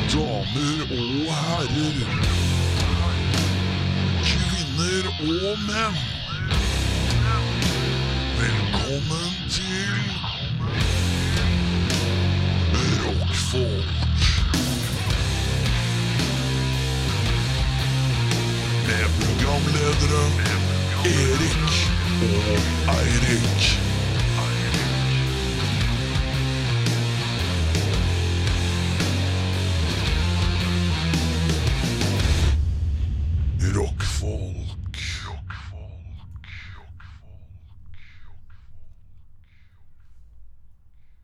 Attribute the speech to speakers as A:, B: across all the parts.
A: damer og herrer. Kvinner og menn. Velkommen til Rockfolk. Med programledere Erik og Eirik. Rockfolk.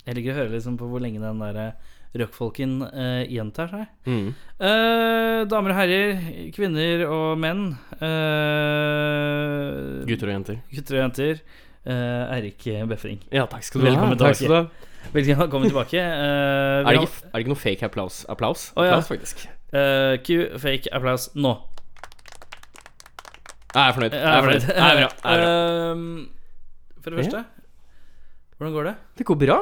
B: Jeg liker å høre liksom på hvor lenge den der eh, rockfolken eh, gjentar seg.
C: Mm.
B: Eh, damer og herrer, kvinner og menn. eh,
C: Gutter og jenter.
B: gutter og jenter. eh, Eirik Befring.
C: Ja, takk skal du ha.
B: Velkommen
C: Takk skal du ha.
B: Velkommen tilbake. Eh, vi
C: Er
B: har-
C: det, ikke, er det ikke noe fake applaus? Applaus,
B: Å, ja.
C: applaus faktisk.
B: eh, Q, fake applaus nå.
C: Jeg er fornøyd. Jeg er fornøyd. Jeg er bra. Jeg er bra.
B: Eh, for det første, hvordan går det?
C: Det går bra.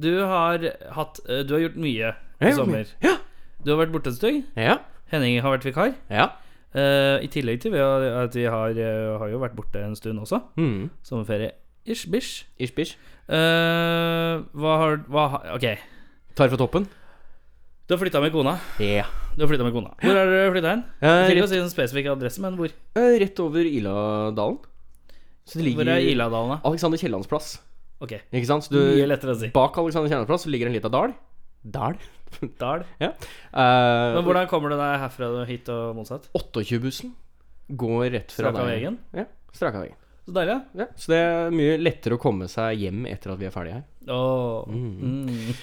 B: Du har hatt eh, Du har gjort mye i
C: Jeg har gjort
B: sommer.
C: mye. Ja.
B: Du har vært borte et stygg.
C: Ja.
B: Henning har vært vikar.
C: ja.
B: Eh, I tillegg til vi har- at vi har, eh, har jo vært borte en stund også.
C: Mm.
B: Sommerferie. Ish, bish.
C: Ish bish.
B: Eh, hva har hva, har- Ok.
C: Tar fra toppen.
B: Du har flytta med kona.
C: Ja.
B: Du har flyttet med kona Hvor har du flytta hen?
C: Eh,
B: Jeg trenger ikke å
C: rett,
B: si en spesifikk adresse, men hvor?
C: eh, rett over Iladalen. Så det ligger
B: Hvor er Iladalen, da?
C: Alexander Kiellands plass.
B: Ok.
C: Ikke sant? Så
B: Mye
C: du,
B: lettere å si.
C: bak Alexander Kiellands plass så ligger en lita dal. Dal?
B: Dal.
C: Ja. Eh,
B: Men hvordan kommer du deg herfra og hit og motsatt?
C: 28-bussen går rett fra
B: Straka
C: der.
B: veien?
C: Ja. Straka veien.
B: Så deilig, ja.
C: Ja, så det er mye lettere å komme seg hjem etter at vi er ferdige her.
B: Åh. Mm.
C: Eh,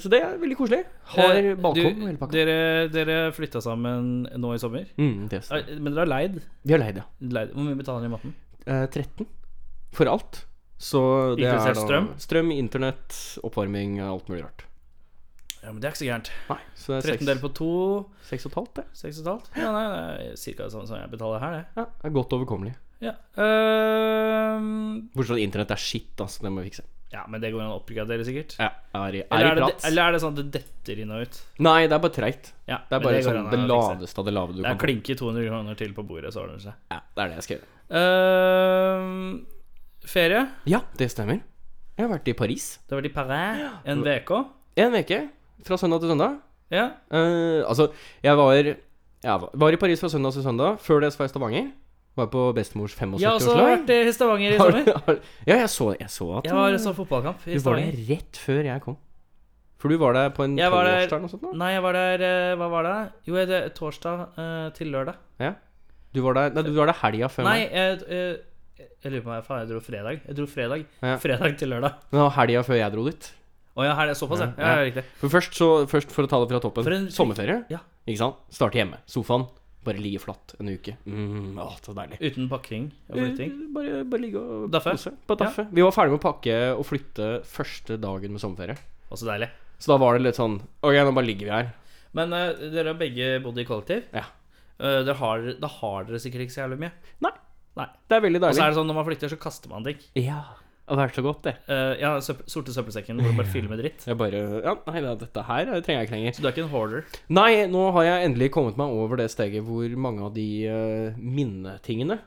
C: så det er veldig koselig. Har
B: Eh,
C: balkong hele
B: du,
C: pakka.
B: dere, dere flytta sammen nå i sommer.
C: Mm, det
B: Eh,
C: stemmer.
B: Men dere har leid?
C: vi har leid, ja.
B: leid. Hvor mye betaler dere i måneden?
C: Eh, 13 for alt. Så det
B: Inkludert
C: er da
B: strøm?
C: strøm, internett, oppvarming og alt mulig rart.
B: Ja, men det er ikke så gærent.
C: Nei, så det er
B: 13 deler på to,
C: 6 og et halvt, det.
B: seks og et halvt? Ja, nei, det er cirka det samme som jeg betaler her, det.
C: Ja, det er godt overkommelig.
B: Ja, Øhm,
C: Bortsett fra at internett er skitt, altså. Det må vi fikse.
B: Ehm, ja men det går an å oppgradere, sikkert.
C: Ja, er, i- er
B: Eller
C: i
B: er, det,
C: prat.
B: eller er det sånn at det detter inn og ut?
C: Nei, det er bare treigt.
B: Ja,
C: Det er
B: men
C: bare
B: går
C: sånn
B: an å
C: det
B: fikse.
C: laveste av det lave du
B: Det er
C: kan få.
B: klinke 200 kroner til på bordet, så ordner det seg.
C: Ja, det er det jeg skal gjøre. Ehm,
B: Øhm, ferie.
C: Ja, det stemmer. Jeg har vært i Paris
B: Det har vært i Paris en uke.
C: en uke. Fra søndag til søndag.
B: Ja.
C: Eh, altså, jeg var, jeg var- var i Paris fra søndag til søndag. Før det så var jeg i Stavanger. Var på bestemors
B: Jeg har også vært
C: 75-årslag.
B: i Stavanger i sommer.
C: ja, jeg så, jeg så at
B: Jeg var så fotballkamp i
C: Du var der
B: Stavanger.
C: rett før jeg kom. For du var der på en
B: Jeg var der-
C: tolvårsdag eller noe sånt? nå?
B: Nei, jeg var der eh, Hva var det? Jo, det er torsdag eh, til lørdag.
C: Ja. Du var der, nei, du var der helga før
B: Nei,
C: meg.
B: jeg, eh, jeg lurer på om jeg, faen, jeg dro fredag. Jeg dro fredag
C: Ja.
B: Fredag til lørdag.
C: Men det var helga før jeg dro dit.
B: Å ja, her er det såpass, ja.
C: Ja,
B: ja. riktig.
C: For først, så, først for å ta det fra toppen.
B: For en-
C: Sommerferie.
B: Ja.
C: Ikke sant? Starte hjemme. Sofaen. Bare ligge flatt en uke. Mm, å, så deilig.
B: Uten pakking og flytting.
C: Bare, bare ligge og
B: Daffe?
C: kose. Bare daffe. Vi var ferdig med å pakke og flytte første dagen med sommerferie.
B: Også deilig.
C: Så da var det litt sånn Ok, nå bare ligger vi her.
B: Men eh, dere har begge bodd i kollektiv.
C: Ja.
B: Eh, dere har, da har dere sikkert ikke så jævlig mye.
C: Nei.
B: Nei.
C: Det er
B: Og
C: veldig
B: så
C: deilig.
B: er det sånn når man flytter, så kaster man ting.
C: Ja. Det har vært så godt, det.
B: Eh, ja, søpp, sorte søppelsekken hvor du bare fyller med dritt.
C: Jeg bare Ja, nei, det- dette her eh, trenger jeg ikke lenger.
B: Så du er ikke en hoarder.
C: Nei, nå har jeg endelig kommet meg over det steget hvor mange av de eh, minnetingene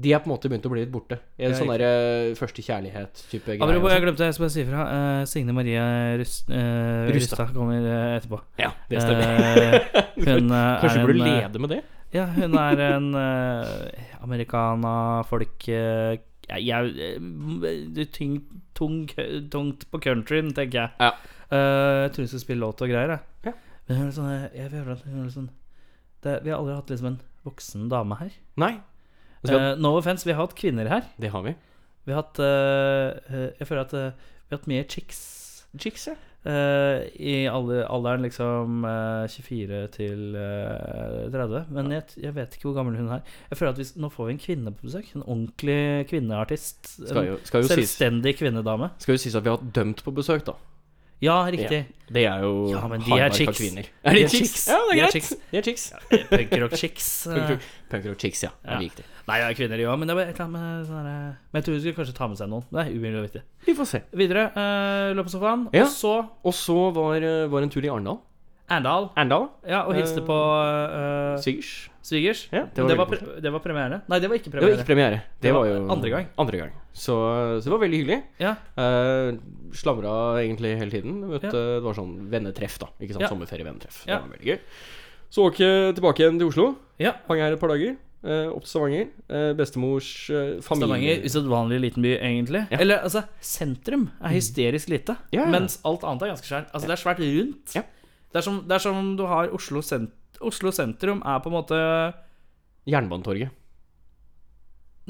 C: De er på en måte begynt å bli litt borte. En
B: Ja,
C: sånn
B: riktig.
C: derre første kjærlighet-type
B: Apropos, jeg
C: greier.
B: glemte jeg skal bare si ifra. Eh, Signe Marie Rust, eh,
C: Rustad.
B: Rustad kommer eh, etterpå.
C: Ja, det stemmer.
B: Eh, hun eh, er
C: Kanskje
B: en,
C: burde du
B: eh,
C: lede med det?
B: Ja, hun er en uh, americana-folk eh, Jeg, jeg eh, tyng, tung, Tungt på countryen, tenker jeg.
C: Ja.
B: Eh, jeg tror hun skal spille låt og greier. Jeg.
C: Ja.
B: Men hun er litt sånn, eh, jeg føler at hun er litt sånn det, Vi har aldri hatt liksom en voksen dame her.
C: Nei. Altså, vi
B: Eh, no offense, vi har hatt kvinner her.
C: Det har vi.
B: Vi har hatt eh, eh, Jeg føler at eh, vi har hatt mye chicks
C: Chicks, ja.
B: eh, i alle, alderen liksom eh, 24 til eh, 30. Men jeg, jeg vet ikke hvor gammel hun er. Jeg føler at hvis, Nå får vi en kvinne på besøk. En ordentlig kvinneartist.
C: Skal
B: En
C: jo, skal jo sies
B: selvstendig kvinnedame.
C: skal jo sies at vi har hatt dømt på besøk, da.
B: Ja, riktig.
C: Det er jo
B: Ja, men de er
C: hardbarka
B: chicks.
C: kvinner.
B: De
C: Er de,
B: er
C: chicks?
B: chicks.
C: Ja, det
B: De
C: er
B: er
C: greit.
B: chicks.
C: De er chicks.
B: Punkrock-chicks. eh.
C: Punker og chicks, ja. Det
B: Ja.
C: er viktig.
B: Nei, jeg er kvinner, jo, men det er bare et eller annet med sånn der, eh, Men jeg tror hun skulle kanskje ta med seg noen. Det er umulig å vite.
C: Vi får se.
B: Videre. Uh, lå på sofaen,
C: Ja.
B: og så
C: Og så var, eh, var en tur i Arendal.
B: Erndal.
C: Erndal?
B: Ja, og hilste
C: Eh,
B: på eh,
C: Svigers?
B: svigers.
C: Ja,
B: det, var det, var pre det var premiere. Nei, det var ikke
C: Det var
B: premiere.
C: ikke premiere. Det,
B: Det
C: var,
B: var
C: jo
B: andre gang.
C: Andre gang. Så, så det var veldig hyggelig.
B: Ja.
C: Eh, slamra egentlig hele tiden. Vet,
B: Ja.
C: du, Det var sånn vennetreff, da. Ikke sant?
B: Ja.
C: Sommerferie-vennetreff.
B: Ja.
C: Det var veldig gøy. Så åkte jeg tilbake igjen til Oslo.
B: Ja.
C: Hang her et par dager. eh, opp til Stavanger. Eh, bestemors eh, familie
B: Stavanger, usedvanlig liten by, egentlig.
C: Ja. Mm.
B: Eller altså, sentrum er hysterisk lite,
C: Ja, ja.
B: mens alt annet er ganske skjært. Altså, det er svært rundt.
C: Ja.
B: Det, er som, det er som du har Oslo sentrum. Oslo sentrum er på en måte
C: Jernbanetorget.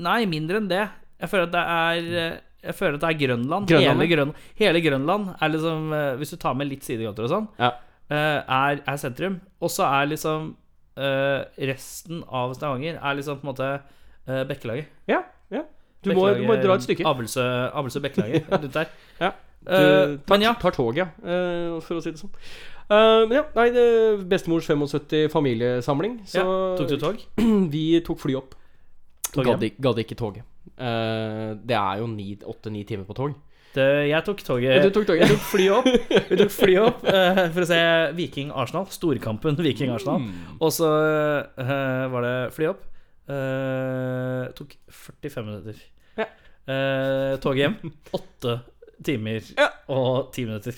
B: Nei, mindre enn det. Jeg føler at det er eh, jeg føler at det er Grønland.
C: Grønland,
B: hele, Grøn, hele Grønland er liksom eh, Hvis du tar med litt sidegater og sånn,
C: Ja.
B: eh, er, er sentrum. Og så er liksom eh, resten av Stavanger er liksom på en måte eh, Bekkelaget.
C: Ja, ja. Du må, du må dra et stykke.
B: Abelsø, Abelsø Bekkelaget. rundt der.
C: Ja. Du
B: Eh,
C: tar,
B: men ja.
C: tar toget, ja, eh, for å si det sånn. Eh, men ja, nei, det, bestemors 75 familiesamling, så
B: ja. Tok du tog?
C: vi tok fly opp.
B: Tog
C: Gadd
B: hjem?
C: ik- gadd ikke toget. Eh, det er jo åtte-ni timer på tog.
B: Det, Eh, jeg tok
C: Men
B: toget.
C: du tok toget.
B: Jeg tok flyet opp, vi tok flyet opp eh, for å se Viking-Arsenal. Storkampen Viking-Arsenal. Og så eh, var det fly opp. Eh, tok 45 minutter.
C: Ja.
B: Eh, toget hjem. Åtte timer
C: Ja.
B: og ti minutter.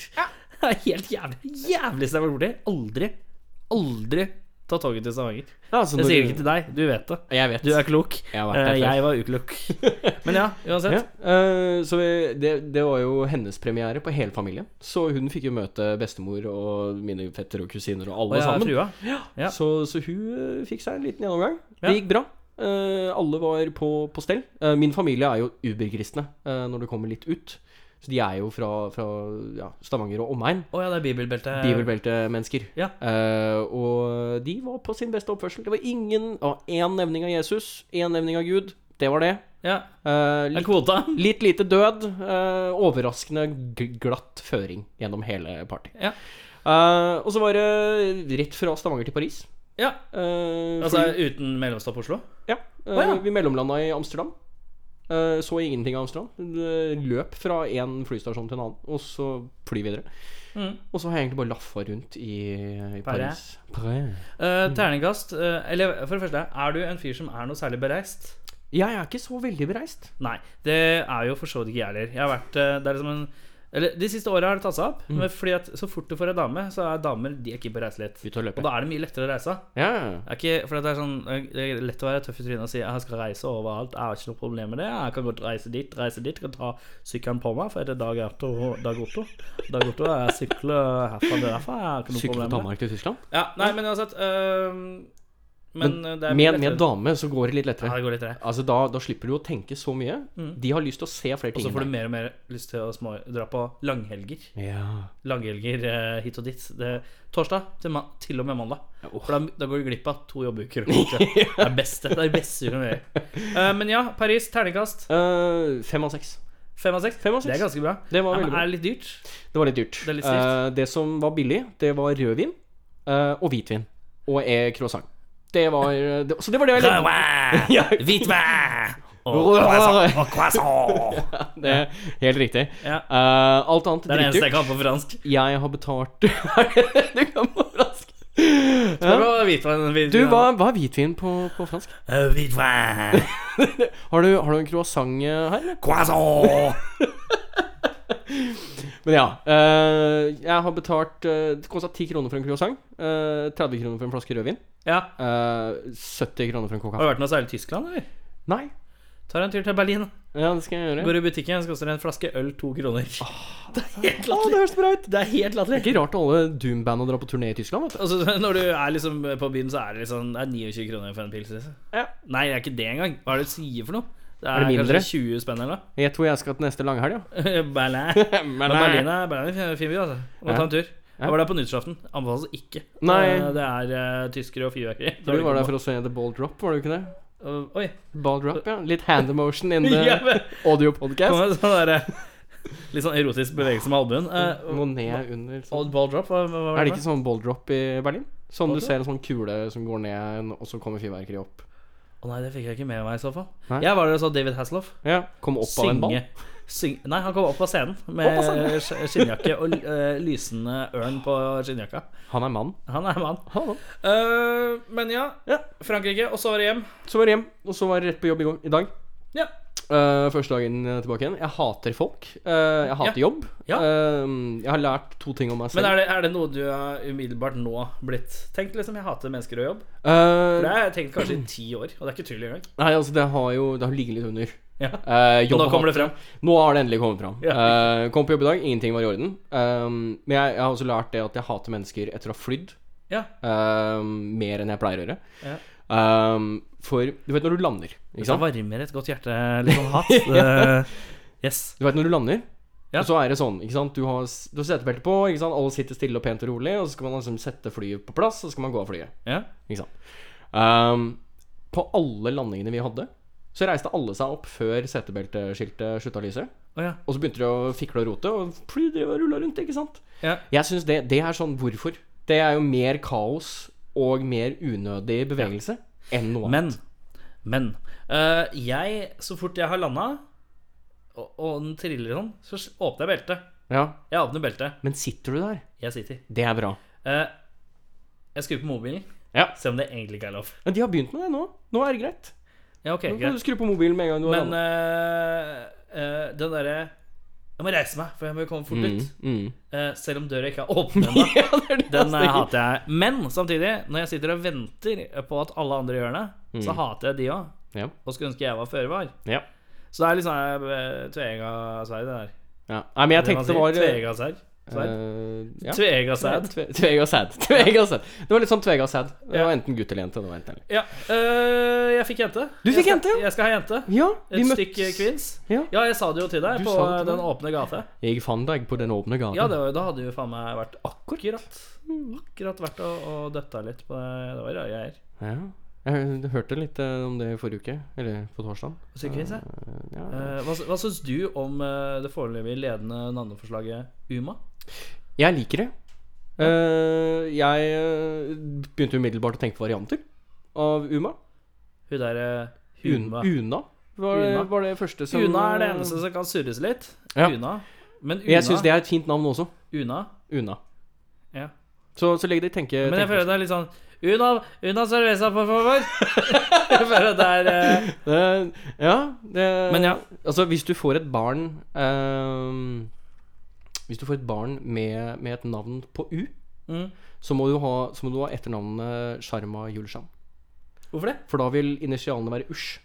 B: Det er helt jævlig. Jævligste jeg har vært borti. Aldri, aldri ta toget til Stavanger.
C: Ja, altså,
B: Det sier
C: når du-
B: jeg ikke til deg. Du vet det.
C: Jeg vet.
B: Du er klok.
C: Jeg har vært der
B: Eh,
C: før.
B: jeg var uklok. Men ja, uansett.
C: ja. eh, så vi, det, det var jo hennes premiere på hele familien. Så hun fikk jo møte bestemor og mine fettere og kusiner og
B: Og
C: alle
B: jeg er
C: sammen.
B: frua. Ja.
C: Så, så hun eh, fikk seg en liten gjennomgang.
B: Ja.
C: Det gikk bra. Eh, alle var på, på stell. Eh, min familie er jo uberkristne eh, når det kommer litt ut. Så de er jo fra, fra ja, Stavanger og omegn.
B: Å ja, det er bibelbelte.
C: Bibelbeltemennesker.
B: Eh. Ja.
C: Eh, og de var på sin beste oppførsel. Det var ingen ah, Én nevning av Jesus, én nevning av Gud. Det var det.
B: Ja.
C: Eh,
B: Det er
C: litt,
B: kvota.
C: litt lite død. eh, overraskende g glatt føring gjennom hele party.
B: Ja.
C: Eh, og så var det rett fra Stavanger til Paris.
B: ja.
C: Eh,
B: Altså
C: fly-
B: uten mellomstopp Oslo?
C: ja. Eh,
B: Å, ja.
C: Vi mellomlanda i Amsterdam. Eh, så ingenting av Amsterdam. Eh, Løp fra én flystasjon til en annen, og så fly videre.
B: Mm.
C: Og så har jeg egentlig bare laffa rundt i, i Paris. Paris.
B: Eh,
C: Mm.
B: terningkast. eh, eller for det første, er du en fyr som er noe særlig bereist?
C: Jeg er ikke så veldig bereist.
B: Nei. Det er jo for så vidt ikke jeg heller. Jeg har vært eh, Det er liksom en eller, De siste åra har det tatt seg
C: Mm.
B: opp. Men fordi at så fort du får ei dame, så er damer de er ikke bereist lett.
C: Ut og løpe.
B: Og da er det mye lettere å reise.
C: Ja, ja, ja.
B: Det er ikke, for det er sånn Det er lett å være tøff i trynet og si jeg skal reise overalt. Jeg har ikke noe problem med det. Jeg kan godt reise dit, reise dit. Kan ta sykkelen på meg, for det er Dag Otto. Dag Otto, dag Otto jeg sykler herfra til derfra. Jeg har ikke noe
C: Sykle
B: problem med
C: fra
B: det.
C: Danmark til Tyskland?
B: Ja, nei, men uansett øhm, Men øh, det er
C: Med,
B: mye
C: med
B: lettere.
C: dame så går det litt
B: Ja,
C: lettere.
B: det går litt rett.
C: Altså Da, da slipper du å tenke så mye. De har lyst til å se flere
B: Og
C: ting.
B: så får du
C: enn deg.
B: mer og mer lyst til å små, dra på langhelger.
C: Ja.
B: Langhelger eh, hit og dit. Det, torsdag til, ma til og med mandag.
C: åh.
B: For da, da går du glipp av to jobbuker. kanskje. Det er det beste. Det er det beste du kan gjøre. Eh, men ja, Paris, terningkast.
C: Eh, fem av seks.
B: Fem av seks.
C: Fem av seks.
B: Det er ganske bra.
C: Det
B: Ja,
C: var
B: men
C: veldig bra.
B: er det litt dyrt?
C: Det var litt dyrt.
B: Det er litt stygt.
C: Eh, det som var billig, det var rødvin eh, og hvitvin. Og e croissant. Det var eh, det, Så det var det jeg levde Ja.
B: Hvitvin!
C: croissant,
B: croissant!
C: Det er Helt riktig.
B: Ja.
C: Eh, alt annet
B: Det er det eneste jeg
C: dritdyrt.
B: kan på fransk.
C: Jeg har betalt Du kan på fransk. Ja.
B: Hva var hvitvin? hvitvin-
C: Du, hva, hva er hvitvin på, på fransk?
B: Eh, Hvitvin!
C: Har du, har du en croissant eh, her? eller?
B: Croissant!
C: Men ja. eh, jeg har betalt eh, Det kosta 10 kroner for en croissant. eh, 30 kroner for en flaske rødvin.
B: Ja.
C: eh, 70 kroner for en coca.
B: Har du vært noe særlig i Tyskland, eller?
C: Nei.
B: Tar en tur til Berlin.
C: Ja, det skal jeg gjøre.
B: Går i butikken, så koster det en flaske øl to kroner. Det er helt
C: Å, det
B: latterlig.
C: høres bra ut.
B: Det er helt
C: Det er
B: latterlig.
C: ikke rart alle Doom-banda drar på turné i Tyskland, vet du.
B: Altså, når du er liksom på byen, så er det liksom Det er 29 kroner for en pils. Liksom.
C: Ja.
B: Nei, det er ikke det engang. Hva er det du sier for noe? Det
C: Er
B: er,
C: det mindre?
B: kanskje 20 spenn eller
C: Jeg tror jeg skal til neste langhelg, ja.
B: noe. Berlin.
C: Men
B: Men Berlin er, Berlin er en fin by, altså. Må
C: Ja.
B: ta en tur.
C: Ja.
B: Jeg var der på nyttårsaften. Anbefales ikke.
C: Nei.
B: Eh, Det er eh, tyskere og fyrverkeri.
C: Du var der for å se The Ball Drop, var du ikke det?
B: Eh, Oi.
C: Ball Drop, ja. Litt hand emotion in
B: Ja,
C: the
B: men-
C: audio
B: Kom
C: podcast.
B: med sånn der, eh, Litt sånn erotisk bevegelse med albuen. Eh,
C: Må ned under sånn.
B: Old ball drop, hva, hva var
C: Er det
B: for?
C: ikke sånn Ball Drop i Berlin? Sånn
B: Ball
C: du
B: drop?
C: ser en sånn kule som går ned, og så kommer fyrverkeri opp.
B: Å nei, det fikk jeg ikke med meg i så fall.
C: Nei.
B: Jeg var der og så David Hasselhoff
C: Ja, Kom opp av en ball.
B: synge, Syng... Nei, han kom opp på scenen med
C: Opp på scenen.
B: sk- skinnjakke og eh, lysende ørn på skinnjakka.
C: Han er mann.
B: Han er mann.
C: Han er mann.
B: Eh, men ja,
C: Ja.
B: Frankrike, og så var det hjem.
C: Så var det hjem, og så var det rett på jobb i, gang, i dag.
B: Ja.
C: Eh, første dagen eh, tilbake igjen. Jeg hater folk. Eh, jeg hater jobb.
B: Ja.
C: Eh, jeg har lært to ting om meg
B: Men
C: selv.
B: er det, er det noe du har umiddelbart nå blitt tenkt? liksom, Jeg hater mennesker og jobb.
C: Eh,
B: For Det har jeg tenkt kanskje i ti år, og det er ikke tull engang.
C: nei, altså, det har jo det har ligget litt under.
B: Ja.
C: Eh,
B: Og
C: jobb
B: nå
C: har-
B: kommer det frem.
C: Nå har det endelig kommet fram.
B: Ja.
C: Eh, kom på jobb i dag, ingenting var i orden. Um, men jeg, jeg har også lært det at jeg hater mennesker etter å ha flydd.
B: Ja.
C: um, mer enn jeg pleier å gjøre.
B: Ja.
C: Um, for du vet når du lander, ikke
B: Det
C: sant?
B: varmer et godt hjerte litt sånn hatt. Det- Yes.
C: Du vet når du lander,
B: Ja.
C: og så er det sånn, ikke sant. Du har, s- du har setebelte på, ikke sant? alle sitter stille og pent og rolig, og så skal man liksom sette flyet på plass, og så skal man gå av flyet.
B: Ja.
C: Ikke sant. Um, på alle landingene vi hadde, så reiste alle seg opp før setebelteskiltet slutta å lyse.
B: Å ja.
C: Og så begynte de å fikle og rote, og flyet drev og rulla rundt, ikke sant.
B: Ja.
C: Jeg syns det, det er sånn hvorfor. Det er jo mer kaos og mer unødig bevegelse enn noe annet.
B: Men, men eh, Jeg, så fort jeg har landa, og, og den triller sånn, så s- åpner jeg beltet.
C: Ja.
B: Jeg åpner beltet.
C: Men sitter du der?
B: Jeg sitter.
C: Det er bra.
B: Eh, jeg skrur på mobilen.
C: Ja.
B: Se om det egentlig ikke er lov.
C: Men de har begynt med det nå. Nå er det greit.
B: Ja, ok,
C: Nå kan
B: greit.
C: du skru på mobilen med en gang du har
B: Men
C: landet.
B: eh, eh, den derre Jeg må reise meg, for jeg må komme fort ut.
C: Mm.
B: Eh, selv om døra ikke er åpen ennå.
C: Ja, det er det
B: Den eh,
C: jeg tenker.
B: hater jeg. Men samtidig, når jeg sitter og venter på at alle andre gjør det,
C: Mm.
B: så hater jeg de òg.
C: Ja.
B: Og skulle ønske jeg var føre var.
C: Ja.
B: Så det er liksom eh, tveegga sverd, det der.
C: ja. Nei, men
B: Det
C: jeg
B: man
C: tenkte det
B: sier.
C: var eh,
B: Tveegga sverd. sverd.
C: eh, ja.
B: Tveegga sverd.
C: Tve- Tvega sad. Tvega sad. Det var litt sånn tvega sad. Det
B: Ja.
C: var enten gutt eller jente. Det var enten eller.
B: Ja. eh, jeg fikk jente.
C: Du fikk
B: Jeg skal-
C: jente, ja.
B: Jeg skal ha jente.
C: Ja,
B: Et stykk kvinns.
C: Ja.
B: Ja, jeg sa det jo til deg
C: Du
B: på
C: sa det til
B: den
C: meg.
B: åpne gate.
C: Jeg fant deg på den åpne gaten.
B: Ja, det var, da hadde jo faen meg vært akkurat Akkurat vært og, og døtta litt på det. Det var rare greier.
C: Ja. Jeg hø- hørte litt eh, om det i forrige uke, eller på torsdag.
B: Sykehuset.
C: Ja.
B: Eh, hva, hva syns du om eh, det foreløpig ledende navneforslaget Uma?
C: Jeg liker det. Eh, jeg eh, begynte umiddelbart å tenke på varianter av Uma.
B: Hun derre
C: Un
B: Una.
C: Una var, det-
B: Una.
C: var det første som
B: Una er det eneste som kan surres litt.
C: Ja.
B: Una. Men Una,
C: Jeg syns det er et fint navn også.
B: Una
C: Una.
B: Ja.
C: Så, så legg deg tenke
B: Men jeg
C: tenke-
B: føler det er litt sånn Una, Una cerveza, por favor! jeg føler det er eh,
C: Eh, Ja, det
B: Men ja.
C: Altså, hvis du får et barn eh, Hvis du får et barn med, med et navn på U,
B: mm.
C: så må du ha, så må du ha etternavnet Sharma Julshan.
B: Hvorfor det?
C: For da vil initialene være usj.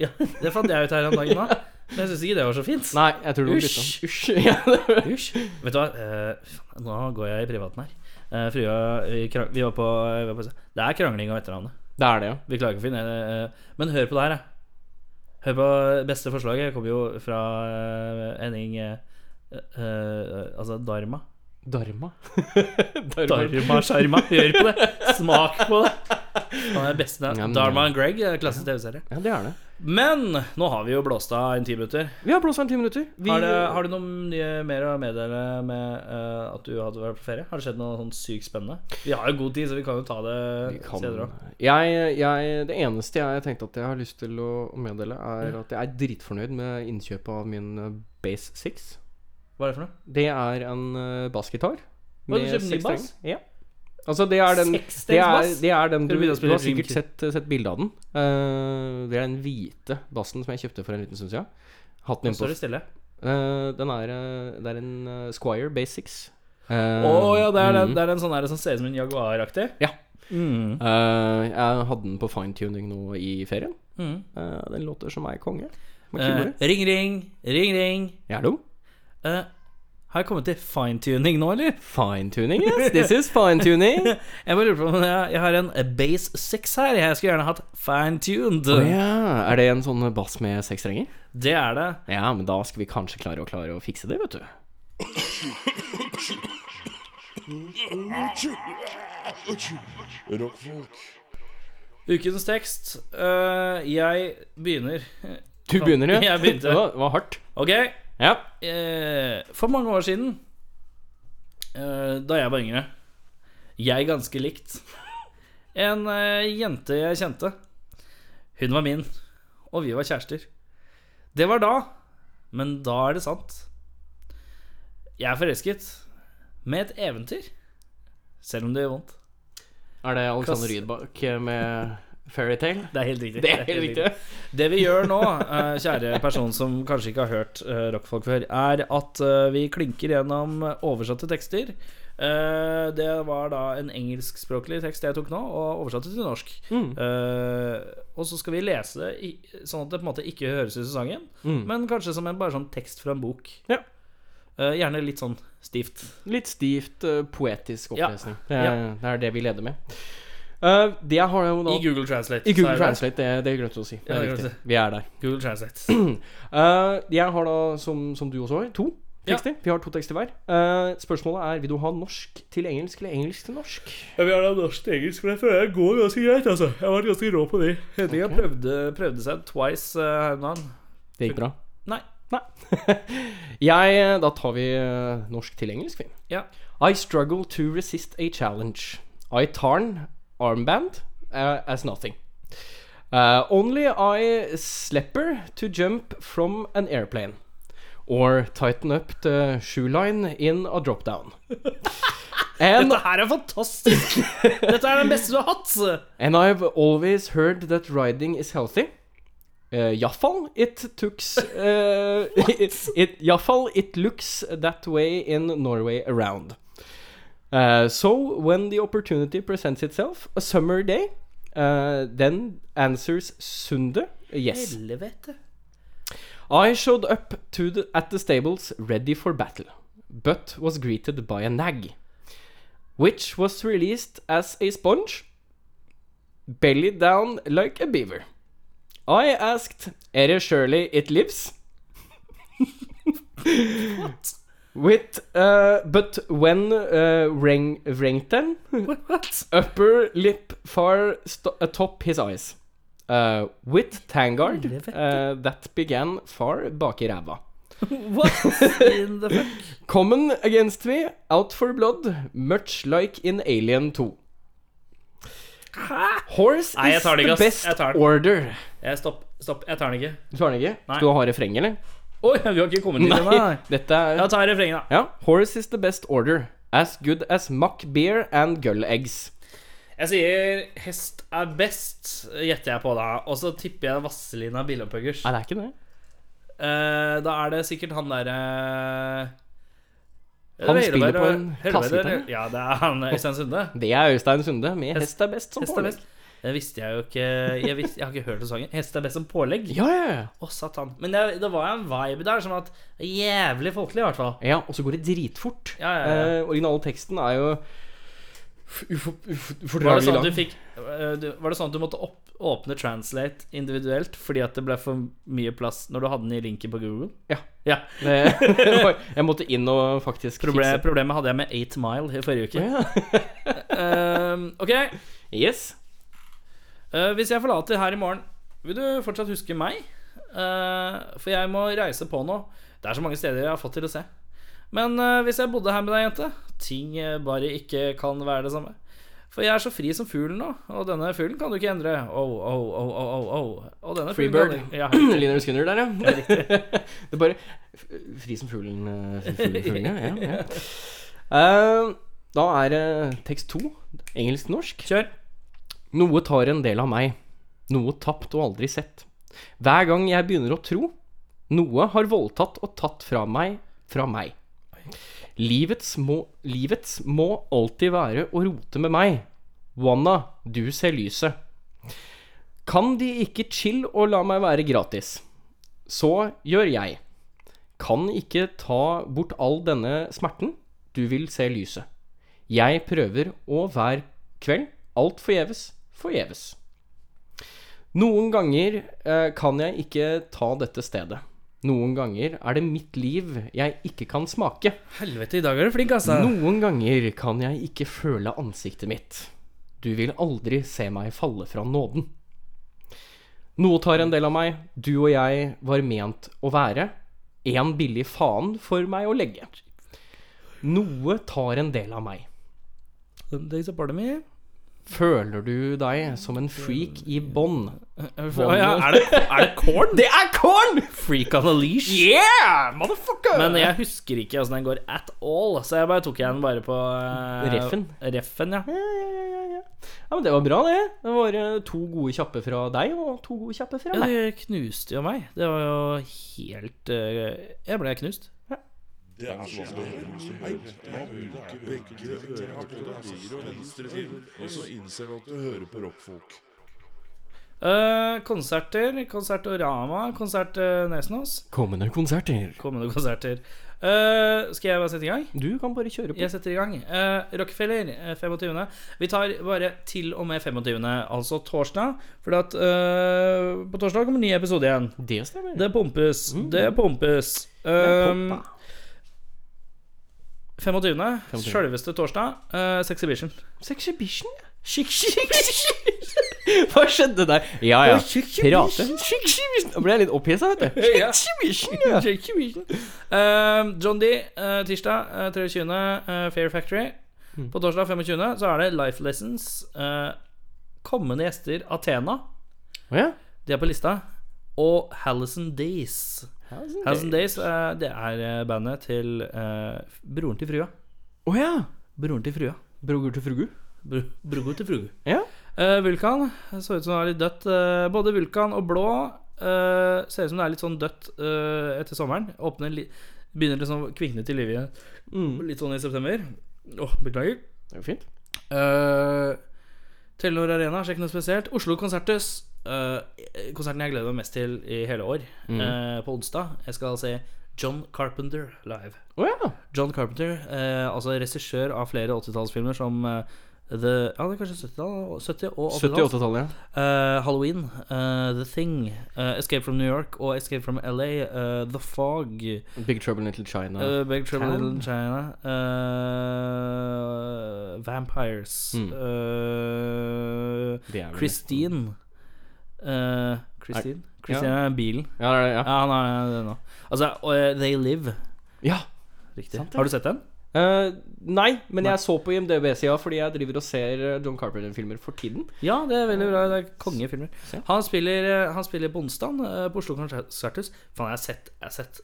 B: Ja, det fant jeg ut her om dagen òg. Men jeg syns ikke det var så fint.
C: Nei, jeg tror det var
B: Usj.
C: bytta. Usj. Ja, det-
B: Hysj. Vet du hva, eh, faen, nå går jeg i privaten her. Eh, Frua vi, krang- vi var på, eh, vi var på Det er krangling om etternavnet.
C: det er det, ja.
B: Vi klarer ikke å finne eh, Men hør på det her, jeg. Hør på beste forslaget. Det kommer jo fra eh, Henning eh, eh, Altså Dharma.
C: Dharma.
B: Dharma Sharma. Hør på det! Smak på det! Han er best
C: Ja, men-
B: Dharma and Greg, eh, klasse TV-serie.
C: Ja, det er det.
B: Men nå har vi jo blåst av en ti minutter.
C: Vi har blåst av en ti minutter. Vi,
B: Har, det, har du noe nye mer å meddele med eh, at du hadde vært på ferie? Har det skjedd noe sånn sykt spennende? Vi har jo god tid, så vi kan jo ta det
C: Vi kan-
B: senere òg.
C: jeg, jeg, Det eneste jeg tenkte at jeg har lyst til å meddele, er at jeg er dritfornøyd med innkjøpet av min eh, Base 6.
B: Hva er det for noe?
C: Det er en eh, bassgitar.
B: Hva, du kjøpte
C: seks
B: ny bass?
C: strenger. Ja. Altså, det er den det er,
B: Sekstengsbass?
C: det er den
B: Skal
C: du,
B: du begynne å
C: du
B: spille
C: har sikkert
B: Dreamkid?
C: sett, sett bilde av den. Eh, det er den hvite bassen som jeg kjøpte for en liten stund siden. Hatt den
B: Nå
C: innpå.
B: står det stille.
C: Eh, den er, eh, det er en eh, Squire Basics. Eh, Å
B: Å ja, det er, den, det er
C: Mm.
B: den sånn der som ser ut som en Jaguar-aktig?
C: Ja. Eh,
B: Mm.
C: jeg hadde den på finetuning nå i ferien.
B: Mm.
C: Eh, den låter som ei konge. Med
B: Eh,
C: kule.
B: ring, ring, ring, ring.
C: Er du?
B: Eh, har jeg kommet til finetuning nå, eller?
C: Finetuning, yes. This is finetuning. Å
B: Jeg bare lurer på om jeg, jeg har en eh, base 6 her. Jeg skulle gjerne hatt fine-tuned.
C: ja. Er det en sånn bass med seks strenger?
B: Det er det.
C: Ja, men da skal vi kanskje klare å klare å fikse det, vet du.
A: Rockfolk.
B: Ukens tekst. Eh, jeg begynner.
C: Du begynner, ja.
B: Jeg begynte.
C: Det var, var hardt.
B: Ok.
C: Ja.
B: eh, for mange år siden, eh, da jeg var yngre, jeg ganske likt en eh, jente jeg kjente. Hun var min, og vi var kjærester. Det var da Men da er det sant. Jeg er forelsket. Med et eventyr. Selv om det gjør vondt.
C: Er det Alexander
B: Kass-
C: Rydbakk med Fairytale?
B: Det er helt riktig.
C: Det er helt riktig.
B: Det vi gjør nå, eh, kjære person som kanskje ikke har hørt eh, rockfolk før, er at eh, vi klinker gjennom oversatte tekster. Eh, Det var da en engelskspråklig tekst jeg tok nå, og oversatte til norsk.
C: Mm,
B: Eh, Og så skal vi lese det i- sånn at det på en måte ikke høres ut som sangen,
C: Mm.
B: men kanskje som en bare sånn tekst fra en bok.
C: Ja.
B: Eh, Gjerne litt sånn stivt.
C: Litt stivt, eh, poetisk
B: Ja.
C: opplesning. Det, er, det er det vi leder med. Eh, det har jeg jo da
B: I Google Translate.
C: I
B: så
C: Google
B: er det-
C: Translate, det, det glemte du å si. Det
B: Ja,
C: er
B: det
C: riktig.
B: glemte
C: Vi er der.
B: Google Translate.
C: Eh, jeg har da, som, som du også har, to
B: Ja.
C: tekster. Vi har to tekster hver. Eh, spørsmålet er vil du ha norsk til engelsk eller engelsk til norsk?
B: Jeg vil gjerne ha norsk til engelsk, for det føler jeg går ganske greit. altså Jeg har vært ganske rå på det. Henning har prøvd prøvde seg twice eh, her om dagen.
C: Det gikk bra.
B: Nei.
C: Nei. jeg, da tar vi eh, norsk til engelsk, vi.
B: Ja.
C: I struggle to resist a challenge. I tarn armband uh, as nothing. Uh, only I slipper to jump from an airplane. Or tighten up the shoe line in a drop down. And,
B: Dette her er fantastisk! Dette er den beste du har hatt!
C: and I've always heard that riding is healthy. Uh, Jaffal, it tooks. Uh, it, it, Jaffal, it looks that way in Norway around. Uh, so, when the opportunity presents itself, a summer day, uh, then answers Sunde, yes.
B: Helvete.
C: I showed up to the, at the stables ready for battle, but was greeted by a nag, which was released as a sponge, belly down like a beaver. I asked, Ere surely it lives? With, uh, but when uh, Reng, Rengten,
B: What?
C: upper lip far st- atop his eyes. Uh, with Tangard uh, that began far bak i ræva.
B: What in the fuck?
C: Common against me, out for blood, much like in Alien 2. Horse
B: Nei, jeg
C: is
B: tar den ikke,
C: the
B: ass.
C: best
B: Jeg tar den.
C: order.
B: Jeg, Eh, stopp, stopp. Jeg tar den ikke.
C: Du tar den ikke?
B: Nei.
C: Skal du ha refrenget, eller?
B: Oi, vi har ikke kommet dit ennå. nei.
C: Dette er
B: Jeg tar refrenget, da.
C: Ja. Horse is the best order. As good as muck beer and gull eggs.
B: Jeg sier 'hest er best', gjetter jeg på da. Og så tipper jeg Vazelina Billopphuggers.
C: Nei, det er ikke det.
B: Eh, da er det sikkert han derre eh,
C: Han spiller på en kassegitar.
B: Ja, det er han eh, Øystein Sunde.
C: Det er Øystein Sunde med Hest, er best som
B: Hest er best. Det visste jeg jo ikke. Jeg, visste, jeg har ikke hørt den sangen. Hest er best som pålegg.
C: Ja, ja, ja.
B: Å, satan. Men det, det var en vibe der som at Jævlig folkelig, i hvert fall.
C: Ja, og så går det dritfort.
B: Ja, ja, ja.
C: Eh, originalteksten er jo f- ufor- ufor-
B: Var det
C: ufordragelig
B: sånn
C: lang.
B: at du fikk eh, du- Var det sånn at du måtte opp, åpne Translate individuelt fordi at det ble for mye plass når du hadde den i linken på Google?
C: Ja.
B: ja.
C: Det- jeg måtte inn og faktisk
B: Proble-
C: fikse
B: problemet hadde jeg med 8 Mile i forrige uke.
C: Ja.
B: Eh, ok,
C: Yes.
B: Eh, hvis jeg forlater her i morgen, vil du fortsatt huske meg? Eh, for jeg må reise på nå. Det er så mange steder jeg har fått til å se. Men eh, hvis jeg bodde her med deg, jente Ting eh, bare ikke kan være det samme. For jeg er så fri som fuglen nå, og denne fuglen kan du ikke endre. Oh, oh, oh, oh, oh, oh. Og denne fuglen
C: Freebird.
B: kan du- Ja.
C: Linus Gunner der, ja. det er bare f- Fri som fuglen, eh, fri fuglen, fuglen ja. ja, ja. Eh, da er det tekst to. Engelsk-norsk.
B: Kjør.
C: Noe tar en del av meg. Noe tapt og aldri sett. Hver gang jeg begynner å tro. Noe har voldtatt og tatt fra meg fra meg. Livets må, livets må alltid være å rote med meg. Wanna, du ser lyset. Kan de ikke chill og la meg være gratis? Så gjør jeg. Kan ikke ta bort all denne smerten. Du vil se lyset. Jeg prøver, og hver kveld, alt forgjeves, forgjeves. Noen ganger eh, kan jeg ikke ta dette stedet. Noen ganger er det mitt liv jeg ikke kan smake.
B: Helvete, i dag er du flink, altså.
C: Noen ganger kan jeg ikke føle ansiktet mitt. Du vil aldri se meg falle fra nåden. Noe tar en del av meg. Du og jeg var ment å være. En billig faen for meg å legge. Noe tar en del av meg.
B: Some days are part of me.
C: Føler du deg som en freak i bånd?
B: Å ja, er det, er det corn?
C: Det er corn!
B: Freak on a leash?
C: Yeah, motherfucker!
B: Men jeg husker ikke åssen den går at all, så jeg bare tok jeg den bare på eh,
C: Reffen.
B: Reffen, ja.
C: Ja, ja, ja, ja. ja, men det var bra, det. Det var eh, to gode kjappe fra deg og to gode kjappe fra
B: ja.
C: meg.
B: Det knuste jo meg. Det var jo helt eh, Jeg ble knust.
A: Og så innser du at du hører på rockfolk.
B: Eh, konserter. Konsertorama. Konsert eh, Nesnos.
C: Kommende konserter.
B: Kommende konserter. Eh, skal jeg bare sette i gang?
C: Du kan bare kjøre på.
B: Jeg setter i gang. Eh, Rockefeller, eh, 25. Vi tar bare til og med 25., altså torsdag. For at, eh, på torsdag kommer ny episode igjen.
C: Det stemmer.
B: Det pumpes.
C: Mm.
B: Det pumpes.
C: Poppa.
B: Um, 25.
C: 25..
B: Sjølveste torsdag. Uh, Sexhibition.
C: Sexhibition? ja.
B: Skikk, skikk, skikk.
C: Hva skjedde der? Ja, ja. Pirate.
B: Sexhibition.
C: Sexhibition. Da ble jeg litt opphissa, vet du.
B: Ja.
C: Sexhibition, ja.
B: Sexhibition. Um, John D. eh, tirsdag eh, 23. eh, Fair Factory. På torsdag 25. så er det Life Lessons. eh, kommende gjester Athena.
C: Å, ja.
B: De er på lista. Og Hallison Days. Hallison Days eh, det er eh, bandet til eh, broren til frua.
C: Å ja.
B: Broren til frua.
C: Broger til frugu.
B: Bro, broren til frua.
C: Ja.
B: Eh, Vulkan det så ut som det er litt dødt. Eh, både Vulkan og Blå eh, ser ut som det er litt sånn dødt eh, etter sommeren. Åpner li begynner liksom å kvikne til liv igjen. Litt sånn i september. Åh, beklager.
C: Det er jo fint.
B: Eh, Telenor Arena, sjekk noe spesielt. Oslo Konserthus. eh, konserten jeg gleder meg mest til i hele år. eh, på onsdag. Jeg skal se John Carpenter live.
C: Å ja.
B: John Carpenter, eh, altså regissør av flere 80-tallsfilmer som eh, The Ja, det er kanskje 70-tall? 70- og 80-tall.
C: 78-tallet, ja.
B: Eh, Halloween, eh, The Thing, eh, Escape from New York og Escape from LA, eh, The Fog,
C: Big Trouble in Little China.
B: eh, Big Trouble in
C: Town.
B: Little China, eh, Vampires,
C: Mm.
B: eh,
C: Det er vel-
B: Christine eh, Christine? Christine er bilen.
C: Ja, det er det, ja.
B: Ja, han er det nå. Altså, og, eh, They Live.
C: ja.
B: Riktig.
C: Sant det.
B: Har du sett den?
C: Eh, nei, men
B: Nei.
C: jeg så på IMDb-sida fordi jeg driver og ser eh, John Carpenter-filmer for tiden.
B: Ja, det er veldig bra. Det er kongefilmer.
C: Ja.
B: Han spiller, han spiller på onsdag eh, på Oslo Konserthus. Faen, jeg har sett, jeg har sett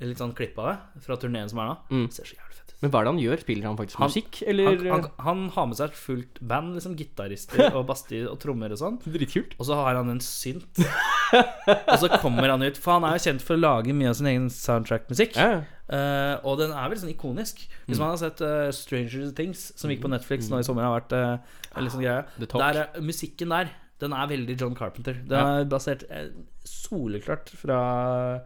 B: litt sånn klipp av det fra turneen som er nå.
C: Mm.
B: Det ser så jævlig fett ut.
C: Men hva er det han gjør? Spiller han faktisk
B: Han-
C: musikk, eller
B: Han, han, han har med seg et fullt band, liksom gitarister og bassist og trommer og sånn.
C: Dritkult.
B: Og så har han en synt. og så kommer han ut. For han er jo kjent for å lage mye av sin egen soundtrack-musikk.
C: Ja.
B: Eh, og den er vel sånn ikonisk. Hvis man har sett eh, Stranger Things, som gikk på Netflix nå i sommer, har vært eh, en litt sånn greie.
C: The Talk.
B: Der, er- musikken der, den er veldig John Carpenter. Den
C: Ja.
B: er basert eh, soleklart fra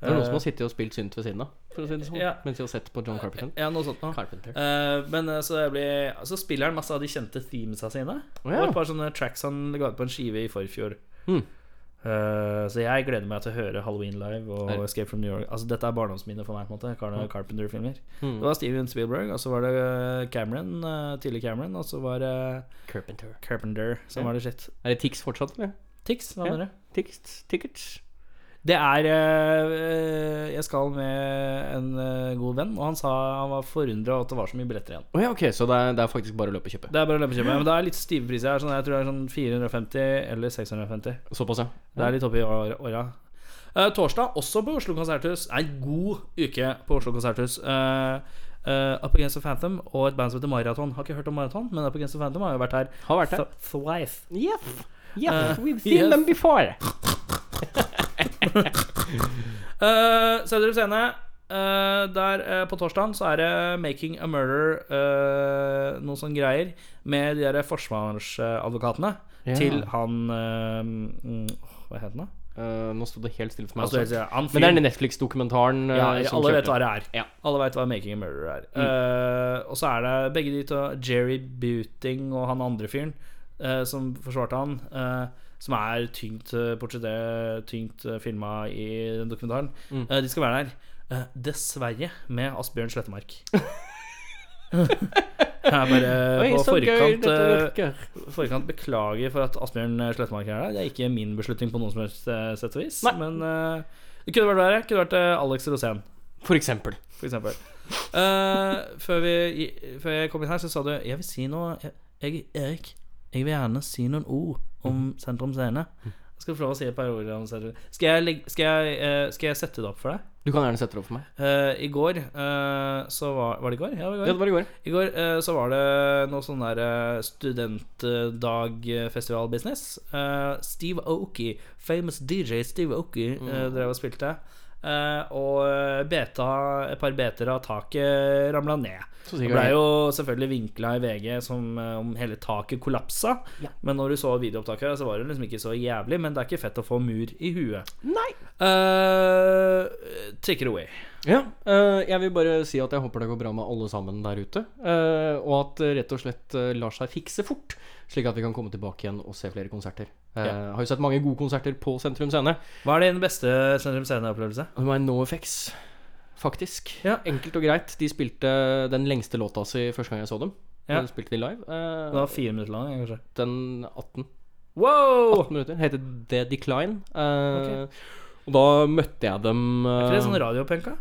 C: Det er noen som
B: eh,
C: har sittet og spilt synt ved siden av, for å si det sånn.
B: Ja.
C: Mens de har sett på John Carpenter.
B: Ja, noe sånt noe.
C: Carpenter.
B: Eh, men eh, så, det blir, så spiller han masse av de kjente themesa sine.
C: Å, ja.
B: Og et par sånne tracks han ga ut på en skive i forfjor.
C: Mm.
B: Eh, så jeg gleder meg til å høre Halloween Live og
C: Der.
B: Escape from New York. Altså Dette er barndomsminnet for meg. på en måte Carne- Carpenter-filmer.
C: Mm.
B: Det var Steven Spielberg, og så var det eh, Cameron, eh, tidlig Cameron, og så var det
C: Carpenter.
B: Carpenter som
C: Ja.
B: var det shit.
C: Er det Tix fortsatt, eller?
B: Tix, hva
C: Ja.
B: mener du?
C: Tix? Tickets?
B: Det er eh, Jeg skal med en eh, god venn, og han sa han var forundra over at det var så mye billetter igjen.
C: Å ja, ok, så det er, det er faktisk bare å løpe og kjøpe.
B: Det er bare å løpe og kjøpe, men det er litt stive priser her. Sånn, jeg tror det er sånn 450 eller 650.
C: Såpass, ja.
B: Det er litt oppi år- åra. Eh, torsdag, også på Oslo Konserthus. Nei, god uke på Oslo Konserthus. Eh, eh, Up Against the Phantom og et band som heter Maraton. Har ikke hørt om Maraton, men Up Against the Phantom har jo vært her.
C: Har vært her.
B: Th- Thrice.
C: Yes.
B: Eh,
C: Yes, we've seen
B: yes.
C: them before.
B: Uh, Sødre Scene. eh, der eh, på torsdagen så er det Making a Murder eh, noe sånn greier med de der forsvarsadvokatene
C: Ja.
B: til han eh, mm, åh, Hva heter han da?
C: Eh, nå sto det helt stille for meg.
B: Altså,
C: også.
B: han
C: Men det er
B: fyren-
C: den Netflix-dokumentaren eh,
B: Ja,
C: som
B: alle vet
C: kjørte.
B: hva det er.
C: Ja. Mm.
B: Alle vet hva Making a Murderer er. Eh, og så er det begge de to, Jerry Buting og han andre fyren eh, som forsvarte han, eh, som er tyngt eh, portrettert, tyngt eh, filma i den dokumentaren.
C: Mm.
B: Eh, de skal være der. eh, dessverre med Asbjørn Slettemark. Jeg er bare
C: Oi,
B: på
C: så gøy
B: forkant,
C: dette
B: eh,
C: virker.
B: forkant beklager for at Asbjørn Slettemark er der. Det er ikke min beslutning på noen som helst eh, sett og vis.
C: Nei.
B: Men eh, det kunne vært verre. Kunne vært eh, Alex Rosén.
C: For eksempel.
B: For eksempel. Eh, før, vi, i- før jeg kom inn her, så sa du 'Jeg vil si noe, jeg, jeg Erik. Jeg vil gjerne si noen ord om Sentrum Scene. Jeg skal få lov å si et par ord om Sentrum Skal jeg, legge- skal jeg, eh, skal jeg sette det opp for deg?
C: Du kan gjerne sette det opp for meg.
B: Eh, I går eh, så var Var det i går? Ja, det var i går.
C: Ja, det var i går.
B: I går eh, så var det noe sånn der eh, studentdagfestivalbusiness. Eh, Steve Oki, famous DJ Steve Oki, eh,
C: Mm.
B: drev og spilte. Eh, og eh, beta, et par beter av taket ramla ned.
C: Så
B: Det
C: sikkert.
B: ble jo selvfølgelig vinkla i VG som eh, om hele taket kollapsa. Men når du så videoopptaket, så var det liksom ikke så jævlig. Men det er ikke fett å få mur i huet.
C: Nei.
B: Eh, take it away.
C: Ja, eh, jeg vil bare si at jeg håper det går bra med alle sammen der ute. eh, og at det rett og slett eh, lar seg fikse fort, slik at vi kan komme tilbake igjen og se flere konserter. Eh, Har jo sett mange gode konserter på Sentrum Scene.
B: Hva er din beste Sentrum Scene-opplevelse?
C: Det var no effects, faktisk.
B: Ja.
C: Enkelt og greit. De spilte den lengste låta si første gang jeg så dem.
B: Ja.
C: De spilte de live. eh,
B: Det var fire minutter lang, kanskje.
C: den 18
B: Wow!
C: 18 minutter. Heter The Decline. Eh, Og da møtte jeg dem
B: Er ikke det sånn
C: eh,
B: radiopunk, da?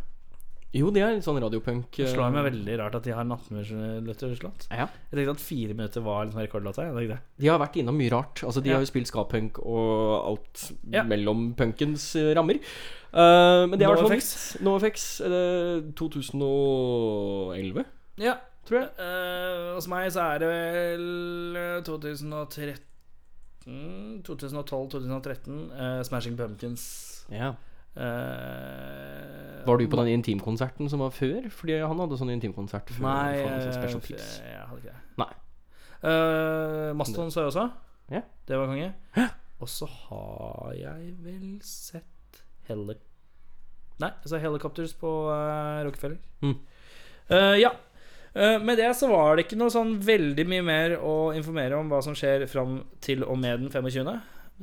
C: Jo, de er litt sånn radiopunk.
B: Det
C: eh,
B: slår meg veldig rart at de har en 18-minutterslått.
C: Ja.
B: Jeg tenkte at fire minutter var liksom rekordlåta. Jeg tenkte det.
C: De har vært innom mye rart. Altså, de
B: Ja.
C: har jo spilt ska-punk og alt
B: Ja.
C: mellom punkens eh, rammer. Eh, men det er i
B: No
C: hvert fall
B: Effects.
C: mitt. No Effects. eh, 2011,
B: Ja.
C: tror jeg.
B: eh, hos meg så er det vel eh, 2013 2012-2013. eh, Smashing Pumpkins.
C: Ja.
B: Eh,
C: Var du på den intimkonserten som var før? Fordi han hadde sånn intimkonsert før.
B: Nei,
C: for en sånn
B: eh,
C: special
B: f-
C: kids.
B: jeg hadde ikke det.
C: Nei.
B: Eh, Mastodon så jeg også.
C: Ja.
B: Det var konge. Og så har jeg vel sett Heli... Nei, jeg så Helicopters på eh, Rockefeller.
C: Mm.
B: Eh, ja. Eh, med det så var det ikke noe sånn veldig mye mer å informere om hva som skjer fram til og med den 25. Eh,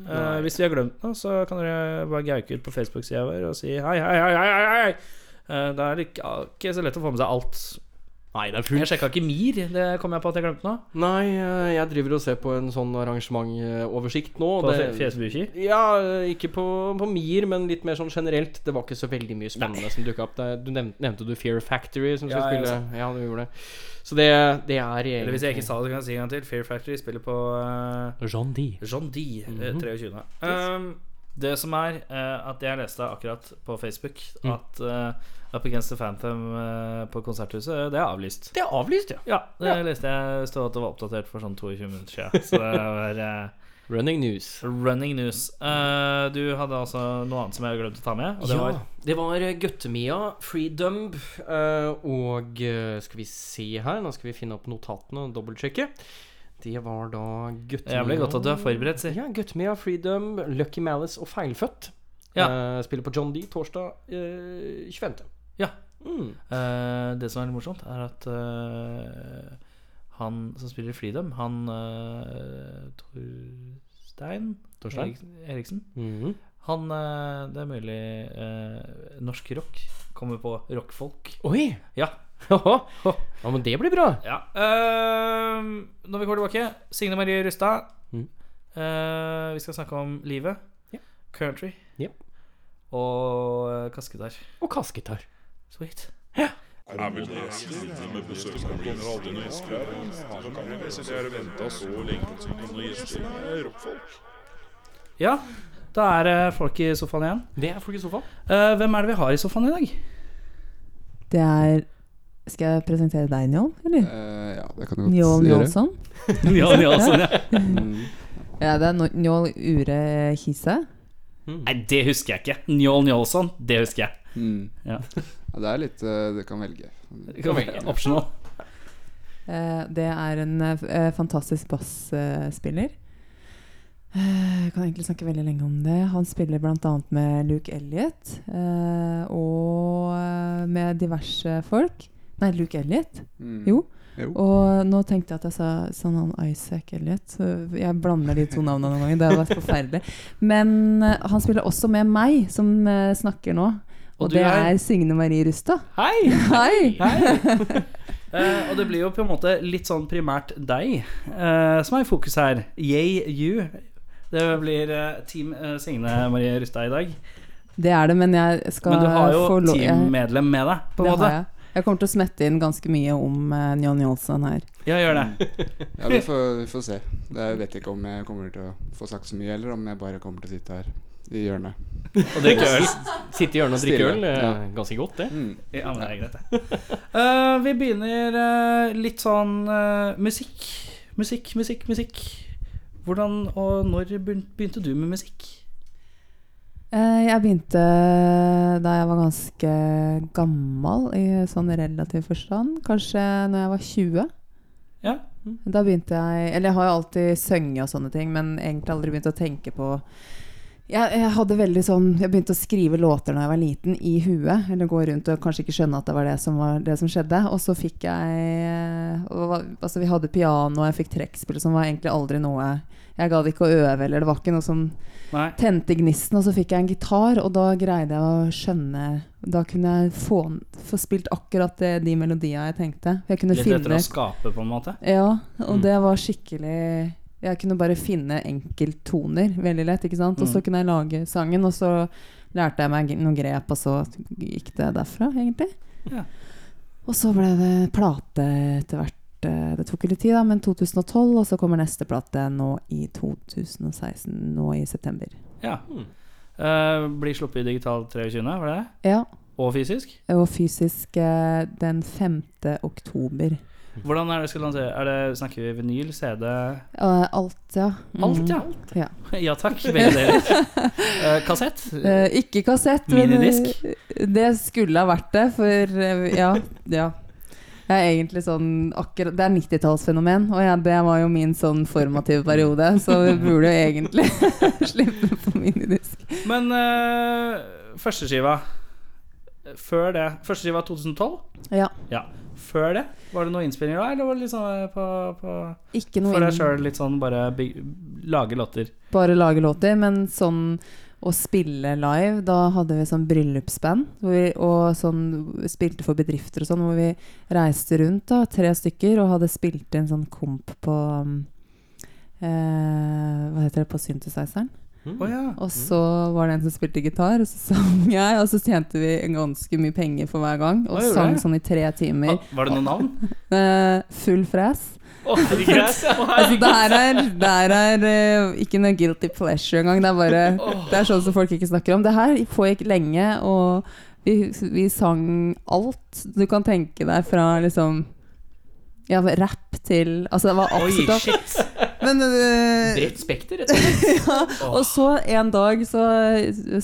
C: Nei.
B: hvis vi har glemt noe, så kan dere bare gauke ut på Facebook-sida vår og si hei, hei, hei, hei, hei, hei. Eh, det er ikke, ikke så lett å få med seg alt.
C: Nei, det er
B: Jeg
C: fullt.
B: sjekka ikke MIR, det kom jeg på at jeg glemte nå.
C: Nei, eh, jeg driver og ser på en sånn arrangementoversikt nå.
B: På
C: Det-
B: Fjesbuki.
C: Ja, ikke på, på Mir, men litt mer sånn generelt. Det var ikke så veldig mye spennende som dukka opp. Det- Du nevnte, nevnte du Fear Factory som
B: Ja,
C: skulle
B: jeg
C: spille? Ja, du gjorde det. Så det, det er
B: Eller hvis jeg ikke sa det, kan jeg si en gang til. Fear Factory spiller på eh,
C: Jean D.
B: John Dee, eh, 23. Um, det som er eh, at jeg leste akkurat på Facebook at eh, Up Against the Phantom eh, på Konserthuset, det er avlyst.
C: Det er avlyst, ja.
B: Ja, det leste jeg stod at det var oppdatert for sånn 22 minutter siden. Så det var eh,
C: Running News.
B: running news. Eh, du hadde altså noe annet som jeg glemte å ta med. Og det
C: ja,
B: var
C: det var eh, Guttemia, Free Dumb eh, og eh, Skal vi se her, nå skal vi finne opp notatene og dobbeltsjekke. Det var da Guttemia
B: Jævlig godt at du er forberedt, si.
C: Ja, Guttemia, Free Dumb, Lucky Malice og Feilfødt.
B: Ja.
C: Eh, spiller på John D torsdag eh, 25.
B: Ja.
C: Mm.
B: Eh, det som er litt morsomt, er at eh, han som spiller Freedom, han eh, Torstein
C: Torstein?
B: Eriksen, Eriksen
C: Mhm.
B: Han eh, Det er mulig eh, norsk rock kommer på rockfolk.
C: Oi!
B: Ja.
C: Ja, men det blir bra.
B: ja. Eh, når vi går tilbake, Signe Marie Rustad.
C: Mm.
B: Eh, vi skal snakke om livet.
C: Ja.
B: Country.
C: Ja.
B: Og eh, kassegitar.
C: Og kassegitar.
B: Sweet.
A: Er vel det stille med besøk? Det blir aldri noen gjester her. Han kan jo sitte her og vente så lenge på noen gjester. Det er rockfolk.
B: Ja, da er det folk i sofaen igjen.
C: Det er folk i sofaen.
B: Eh, hvem er det vi har i sofaen i dag?
D: Det er Skal jeg presentere deg, Njål? Eller?
E: Eh, ja, det kan jeg godt
D: Njål
E: gjøre.
D: Njålsson?
B: Njål Njålsson, ja.
E: Mm.
D: Ja, det er Nå- Njål Ure Kise.
B: Nei, det husker jeg ikke. Njål Njålsson, det husker jeg.
E: Mm.
B: Ja.
E: Ja. det er litt eh, Du kan velge.
C: Kom igjen.
B: Optional.
D: Eh, Det er en eh, f- eh, fantastisk basspiller. Jeg kan egentlig snakke veldig lenge om det. Han spiller bl.a. med Luke Elliot eh, og eh, med diverse folk. Nei, Luke Elliot.
E: Mm.
D: Jo.
E: Jo.
D: Og nå tenkte jeg at jeg sa sånn han Isaac Elliot. så Jeg blander de to navnene noen ganger. Det hadde vært forferdelig. Men eh, han spiller også med meg, som eh, snakker nå. Og,
B: Og du
D: det
B: er-
D: er, Signe Marie Rustad.
B: Hei!
D: Hei!
B: Eh, og det blir jo på en måte litt sånn primært deg eh, som er i fokus her. Yay you. Det blir eh, Team eh, Signe Marie Rustad i dag.
D: Det er det, men jeg skal
B: Men du har jo
D: få lov jeg-
B: teammedlem med deg, på en
D: det
B: måte.
D: har jeg. Jeg kommer til å smette inn ganske mye om eh, Njon Jolson her.
B: Ja, gjør
D: Mm.
B: det.
E: Ja, vi får, vi får se. Jeg vet ikke om jeg kommer til å få sagt så mye, eller om jeg bare kommer til å sitte her i hjørnet.
C: Og drikke øl. Sitte i hjørnet og drikke
E: Stille,
C: øl. eh,
E: ja.
C: Ganske godt, det.
E: Mm.
B: Ja, men det er greit, det. Eh, vi begynner eh, litt sånn eh, musikk. Musikk, musikk, musikk. Hvordan og når begyn- begynte du med musikk?
D: Eh, Jeg begynte eh, da jeg var ganske gammel, i sånn relativ forstand. Kanskje når jeg var 20.
B: Ja.
D: Da begynte jeg Eller jeg har jo alltid sunget og sånne ting, men egentlig aldri begynt å tenke på jeg, jeg hadde veldig sånn Jeg begynte å skrive låter da jeg var liten, i huet. Eller gå rundt og kanskje ikke skjønne at det var det som, var det som skjedde. Og så fikk jeg eh, og hva- Altså, vi hadde piano, og jeg fikk trekkspill, som var egentlig aldri noe Jeg gadd ikke å øve, eller det var ikke noe som
B: Nei.
D: tente gnisten, og så fikk jeg en gitar, og da greide jeg å skjønne Da kunne jeg få, få spilt akkurat det, de melodiene jeg tenkte. Jeg kunne
B: Litt etter
D: finne
B: å skape, på en måte.
D: Ja, og
B: Mm.
D: det var skikkelig Jeg kunne bare finne enkelttoner veldig lett, ikke sant. Og så
B: Mm.
D: kunne jeg lage sangen, og så lærte jeg meg noen grep, og så gikk det derfra, egentlig.
B: Ja.
D: Og så ble det plate etter hvert. eh, Det tok jo litt tid, da, men 2012, og så kommer neste plate nå i 2016, nå i september.
B: Ja.
C: Mm.
B: Eh, blir sluppet i digital 23., var det det?
D: Ja,
B: Og fysisk?
D: Og fysisk eh, den 5. oktober.
B: Hvordan er det skal lansere? Er det, snakker vi vinyl, CD?
D: Eh, Alt, ja. Mm.
B: Alt, ja.
D: Ja.
B: ja takk, begge deler. Eh, kassett?
D: Eh, ikke kassett. men,
B: Minidisk?
D: eh, Det skulle ha vært det, for eh, ja. ja. Jeg er egentlig sånn akkurat, Det er 90-tallsfenomen, og jeg, det var jo min sånn formative periode, så vi burde jo egentlig slippe på minidisk.
B: Men eh, førsteskiva Før det Førsteskiva 2012?
D: Ja.
B: Før det? Var det noen innspillinger da, eller var det litt sånn eh, på, på
D: Ikke noe
B: For deg
D: inn-
B: sjøl, litt sånn bare byg- lage låter?
D: bare lage låter, men sånn å spille live Da hadde vi sånn bryllupsband hvor vi, og sånn spilte for bedrifter og sånn, hvor vi reiste rundt, da, tre stykker, og hadde spilt inn sånn komp på um, eh, Hva heter det, på synthesizeren.
C: Mm.
B: Å ja.
D: Og så var det en som spilte gitar, og så sang jeg, og så tjente vi ganske mye penger for hver gang, og
B: Oi,
D: sang
B: bra.
D: sånn i tre timer.
B: Ah, Var det noe navn?
D: Eh, full fres.
B: Å, herregud. Å,
D: Altså,
B: herregud.
D: det her er, det her er eh, ikke noe guilty pleasure engang. Det er bare Det er sånn som folk ikke snakker om. Det her pågikk lenge, og vi, vi sang alt du kan tenke deg fra liksom ja, rapp til Altså, det var absolutt
B: Oi,
D: alt.
B: shit.
D: Men eh,
C: Bredt spekter, rett og slett.
D: og så en dag så,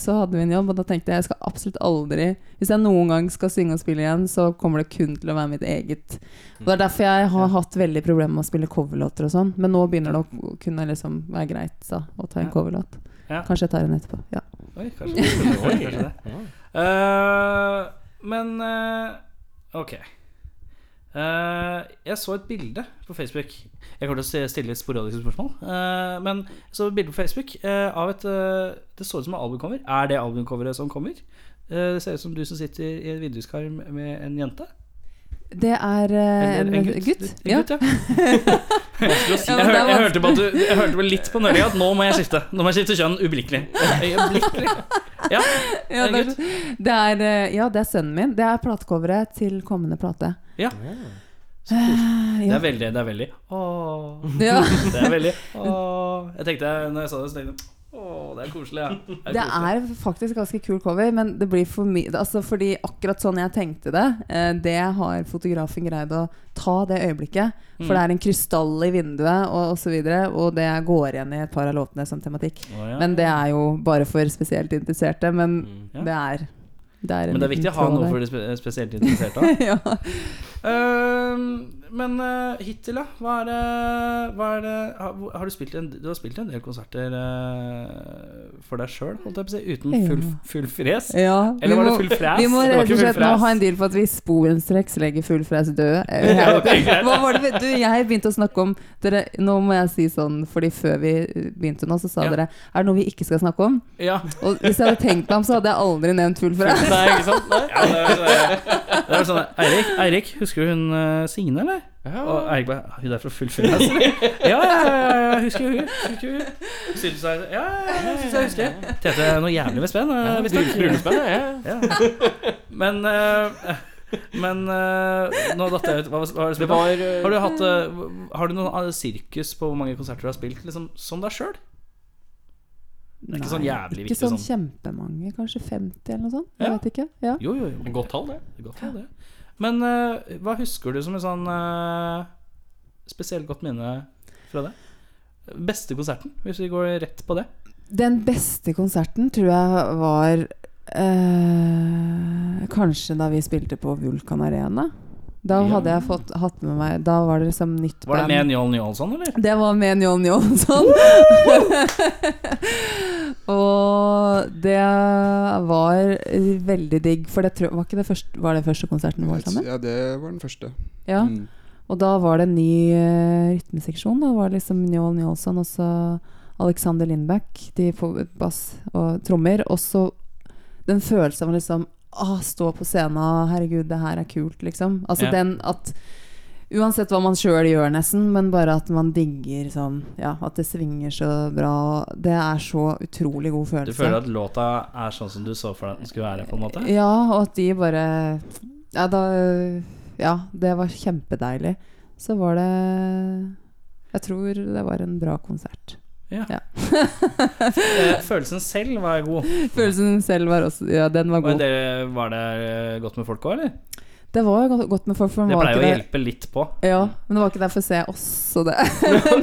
D: så hadde vi en jobb, og da tenkte jeg jeg skal absolutt aldri Hvis jeg noen gang skal synge og spille igjen, så kommer det kun til å være mitt eget. Og Det er derfor jeg har hatt veldig problemer med å spille coverlåter og sånn, men nå begynner det å kunne liksom være greit da, å ta en
B: Ja.
D: coverlåt.
B: Ja.
D: Kanskje jeg tar en etterpå. Ja.
B: Oi, kanskje det. Oi, kanskje det.
C: Ja.
B: Eh, men eh, OK. Eh, jeg så et bilde på Facebook. Jeg kommer til å stille litt sporadiske spørsmål. Eh, men jeg så et bilde på Facebook eh, av et eh, Det så ut som et albumcover. Er det albumcoveret som kommer? Eh, det ser ut som du som sitter i en vinduskarm med en jente.
D: Det er eh,
B: Eller
D: en, gutt.
B: En
D: ja.
B: gutt, ja. Vanskelig å si.
D: Ja,
B: Jeg,
D: men det
B: hør,
D: er
B: jeg, hørte på at du, jeg hørte vel litt på nølet at nå må jeg skifte. Nå må jeg skifte kjønn ublikkelig. Øyeblikkelig. Ja,
D: Ja,
B: en
D: det,
B: gutt.
D: er, det er, eh, ja, det er sønnen min. Det er platecoveret til kommende plate.
B: Ja.
D: Eh,
B: Det
D: ja.
B: er veldig, det er veldig Åh.
D: ja.
B: Det er veldig Åh. Jeg tenkte, når jeg så det, så tenkte jeg Åh, det er koselig, ja. Det
D: Det
B: er koselig.
D: er faktisk ganske kul cover, men det blir for mye altså Fordi akkurat sånn jeg tenkte det, eh, det har fotografen greid å ta det øyeblikket. For
B: Mm.
D: det er en krystall i vinduet og osv., og, og det går igjen i et par av låtene som tematikk.
B: Åh, ja.
D: Men det er jo bare for spesielt interesserte. Men
B: Mm, Ja.
D: det er det er en
B: Men det er viktig å
D: liten
B: ha
D: tråd
B: noe
D: der.
B: for de spe- spesielt interesserte. da.
D: ja.
B: Ehm, men eh, hittil, da? Hva er det, hva er det har, hvor- har du, spilt en, du har spilt en del konserter eh, for deg sjøl, holdt jeg på å si, uten full,
D: Ja.
B: full fres?
D: ja.
B: Eller
D: vi
B: var det
D: må-
B: full fres?
D: Vi må
B: Det var
D: rett
B: ikke
D: og
B: full
D: slett nå
B: fres.
D: ha en deal for at vi sporenstreks legger full fres død. Eh,
B: Ja, ok, greit.
D: Hva var det vi- Du, jeg begynte å snakke om dere, Nå må jeg si sånn, fordi før vi begynte nå, så sa
B: Ja.
D: dere Er det noe vi ikke skal snakke om?
B: Ja.
D: Og hvis jeg hadde tenkt meg om, så hadde jeg aldri nevnt full fres.
C: Nei, ikke sant? Nei.
B: ja det er, det er, det er sånn Eirik, Eirik, husker du hun eh, Signe, eller? Og Eirik bare Hun der fra Full Fres? ja, ja, ja, ja, husker hun. Husker hun. Synes jeg, ja, ja, ja, synes jeg husker. Tete er noe jævlig med spenn. eh, visstnok.
C: Bryllupsband, ja.
B: Ja. Men eh, Men eh, nå datt jeg ut. Hva, var- hva var det som
C: Det var
B: Har du, hatt, eh, har du noen eh, sirkus på hvor mange konserter du har spilt liksom, som deg sjøl? er ikke sånn jævlig
D: ikke
B: viktig
D: sånn
B: sånn.
D: kjempemange, kanskje 50 eller noe sånt. Jeg
B: Ja.
D: vet ikke. Ja.
B: Jo, jo, jo.
C: Godt tall, det.
B: Godt, ja, det. Men eh, hva husker du som en sånn eh, spesielt godt minne fra det? Beste konserten, hvis vi går rett på det.
D: Den beste konserten tror jeg var eh, kanskje da vi spilte på Vulkan Arena. Da
B: Ja.
D: hadde jeg fått, hatt med meg Da var det liksom nytt
B: Var det
D: band.
B: med Njål Njålsson, eller?
D: Det var med en John Johansson. og det var veldig digg, for det tror, var, ikke det første, var det første konserten vår sammen?
E: Ja, det var den første.
D: Ja.
E: Mm.
D: Og da var det en ny eh, rytmeseksjon. Da var det liksom Njål Njålsson og så Alexander Lindbæk, de på bass og trommer. Og så den følelsen av å liksom ah, stå på scenen, herregud, det her er kult, liksom. Altså
B: Ja.
D: den at Uansett hva man sjøl gjør, nesten, men bare at man digger sånn Ja, at det svinger så bra. Det er så utrolig god følelse.
B: Du føler at låta er sånn som du så for deg at den skulle være? på en måte
D: Ja, og at de bare Ja, da Ja, det var kjempedeilig. Så var det Jeg tror det var en bra konsert.
B: Eh, Følelsen selv var god.
D: Følelsen selv var også Ja, den var
B: Og
D: god.
B: det, var det eh, godt med folk òg, eller?
D: Det var jo godt- godt med folk, for den
B: Det
D: var
B: pleier å
D: ikke der.
B: hjelpe litt på.
D: Ja, men det var ikke der for å se oss og det. men,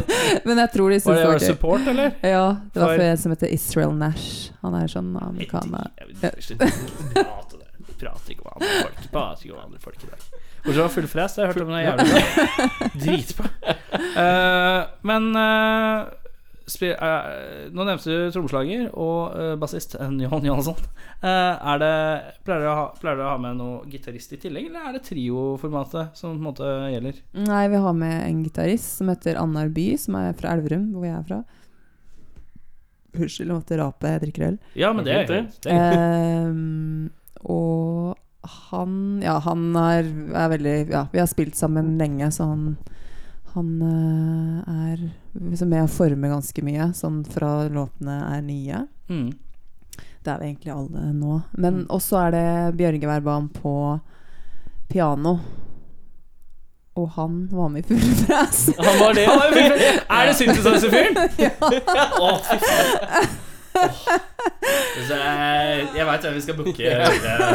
D: men jeg tror de
B: Var det,
D: syntes det
B: var det
D: var gøy.
B: support, eller?
D: Ja, det var
B: for-
D: for en som heter Israel Nash. Han er sånn amerikaner.
B: Jeg vet ikke, jeg vet ikke. Prate der. Prate ikke om andre folk. Prate ikke om andre folk i dag. Bortsett fra full fres, det har jeg hørt om. Det er jævlig bra. Dritbra. Eh, men eh, spi- eh, Nå nevnte du trommeslager og eh, bassist eh, Johan Johansson. Eh, er det, pleier, dere å ha, pleier dere å ha med noe gitarist i tillegg, eller er det trioformatet som på en måte gjelder?
D: Nei, vi har med en gitarist som heter Annar By, som er fra Elverum, hvor jeg er fra. Unnskyld, jeg måtte rape, jeg drikker øl.
B: Ja, men det er
C: Fint,
B: det er-
D: Ehm, og han Ja, han er, er veldig Ja, vi har spilt sammen lenge, så han han eh, er liksom med å forme ganske mye, sånn fra låtene er nye.
B: mm.
D: Det er vi egentlig alle nå. Men også er det Bjørge Verban på piano. Og han var med i Full Fræs.
C: Han var det.
B: Han er jo full- Er det synthesizer-fyren? Å, fy faen. Så jeg jeg veit hvem vi skal booke. videre.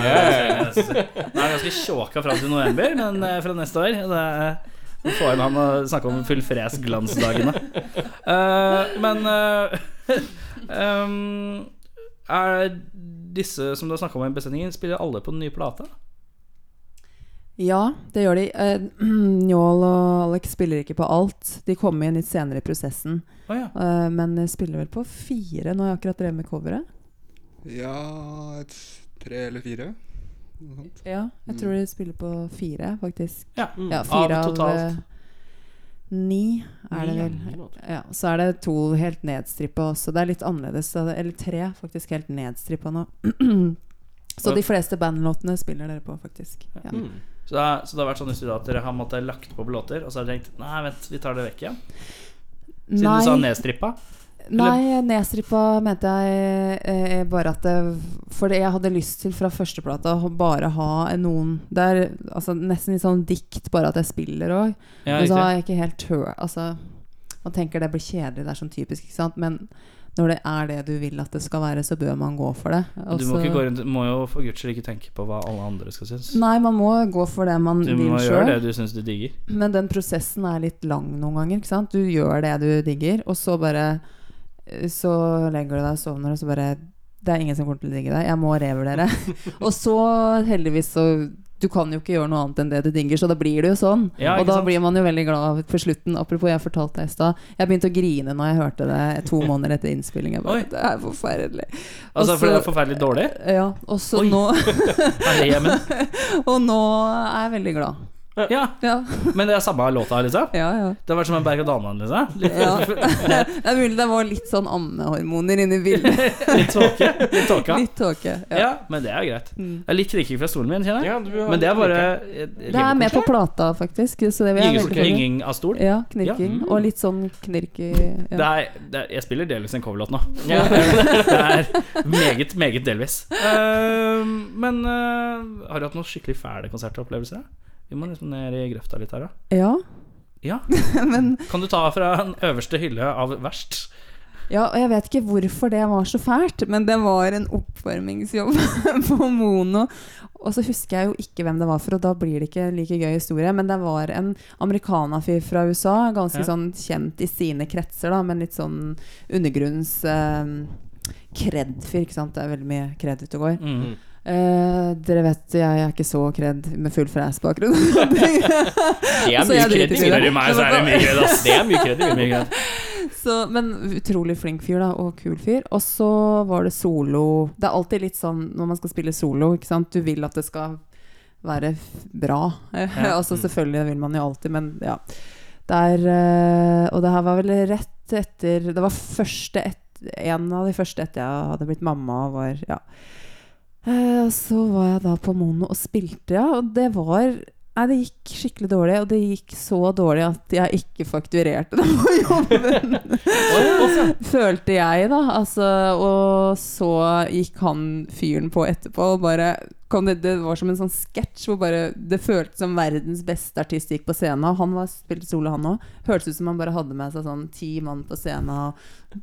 B: Nå er vi ganske tjåka fram til november, men eh, fra neste år det er- vi får inn han og snakke om full fres glansdagene. Eh, men eh, um, er disse som du har snakka om i besendingen, spiller alle på den nye plata?
D: Ja, det gjør de. Eh, Njål og Alex spiller ikke på alt. De kom inn litt senere i prosessen.
B: Å ja.
D: Eh, men jeg spiller vel på fire. Nå har jeg akkurat drevet med coveret.
E: Ja, et tre eller fire. Noe sånt.
D: Ja, jeg tror de spiller på fire, faktisk.
B: ja.
D: Ja, fire
B: Mm. Av
D: av,
B: totalt?
D: eh, ni, er det
C: Ni,
D: vel.
C: ni låter.
D: Ja, så er det to helt nedstrippa også. Det er litt annerledes. så det- Eller tre faktisk helt nedstrippa nå. Så de fleste bandlåtene spiller dere på, faktisk. Ja.
C: Mm.
B: Så, det er- så det har vært sånn i studiet at dere har måttet lagt på låter, og så har dere tenkt nei, vent, vi tar det vekk igjen? Siden du sa
D: Nei,
B: nedstrippa?
D: nei, nedstrippa mente jeg eh, bare at det For det jeg hadde lyst til fra førsteplata, å bare ha en noen Det er altså, nesten litt sånn dikt, bare at jeg spiller òg.
B: Ja,
D: Men så
B: riktig.
D: har jeg ikke helt tør Altså, man tenker det blir kjedelig, det er sånn typisk, ikke sant? Men når det er det du vil at det skal være, så bør man gå for det. Og
B: Du må,
D: så-
B: ikke gå rundt, må jo for guds skyld ikke tenke på hva alle andre skal synes.
D: Nei, man må gå for det man
B: Du
D: vil
B: må gjøre det
D: sjøl.
B: du syns du digger.
D: Men den prosessen er litt lang noen ganger, ikke sant? Du gjør det du digger, og så bare eh, Så legger du deg og sovner, og så bare Det er ingen som kommer til å digge deg. Jeg må revurdere. og så, heldigvis, så du kan jo ikke gjøre noe annet enn det du digger, så da blir det jo sånn.
B: Ja,
D: og
B: ikke
D: da
B: sant?
D: blir man jo veldig glad på slutten. Apropos, jeg fortalte deg i stad. Jeg begynte å grine når jeg hørte det to måneder etter innspilling.
B: Oi.
D: Jeg bare, det er forferdelig.
B: Altså,
D: Og
B: for
D: så-
B: det er forferdelig dårlig.
D: Ja, og så
B: Oi.
D: nå
B: Herre, men
D: Og nå er jeg veldig glad.
B: Ja,
D: Ja,
B: men det er samme låta, liksom?
D: ja. ja.
B: Det har vært som en berg og dal liksom? Litt,
D: ja. Det er mulig det var litt sånn ammehormoner inni bildet.
B: litt tåke. Litt tåka.
D: Litt tåke.
B: Ja.
D: Ja.
B: men det er greit.
D: Mm.
B: Jeg er litt kriking fra stolen min, kjenner jeg.
C: Ja, du har-
B: Men det er bare
D: Det er med på plata, faktisk. Så det vil
B: Gynging-
D: jeg veldig gjerne.
B: Gynging av stol.
D: Ja, knirking.
B: Ja.
D: Og litt sånn knirk i
B: Det
D: ja.
B: er, det er, jeg spiller delvis en coverlåt nå.
C: Ja.
B: Det er meget, meget delvis. Eh, men eh, har du hatt noen skikkelig fæle konsertopplevelser? da? Vi må liksom ned i grøfta litt her, da.
D: ja.
B: Ja.
D: Men
B: Kan du ta fra den øverste hylle av verst?
D: Ja, og jeg vet ikke hvorfor det var så fælt, men det var en oppvarmingsjobb på Mono. Og så husker jeg jo ikke hvem det var for, og da blir det ikke like gøy historie. Men det var en amerikanafyr fra USA, ganske
B: Ja.
D: sånn kjent i sine kretser, da, men litt sånn undergrunns eh, Kred-fyr, ikke sant. Det er veldig mye kred ute og går.
B: Mm.
D: Eh, dere vet, jeg er ikke så kred med full fræs-bakgrunn. så
C: Det er
D: Så
C: mye
D: jeg driter
C: kredi.
D: i det.
B: Spør du meg, så er det mye greit, ass.
C: Det er mye kredi.
B: Mye greit.
D: men utrolig flink fyr, da, og kul fyr. Og så var det solo. Det er alltid litt sånn når man skal spille solo, ikke sant. Du vil at det skal være f- bra. altså selvfølgelig, det vil man jo alltid, men ja. Der eh, Og det her var vel rett etter Det var første et, en av de første etter jeg hadde blitt mamma og var Ja. Eh, og så var jeg da på Mono og spilte, ja. Og det var Nei, det gikk skikkelig dårlig. Og det gikk så dårlig at jeg ikke fakturerte det på jobben. Følte jeg, da. Altså, og så gikk han fyren på etterpå og bare kom det, det var som en sånn sketsj hvor bare det føltes som verdens beste artist gikk på scenen. Og han var, spilte solo, han òg. Hørtes ut som han bare hadde med seg sånn ti mann på scenen og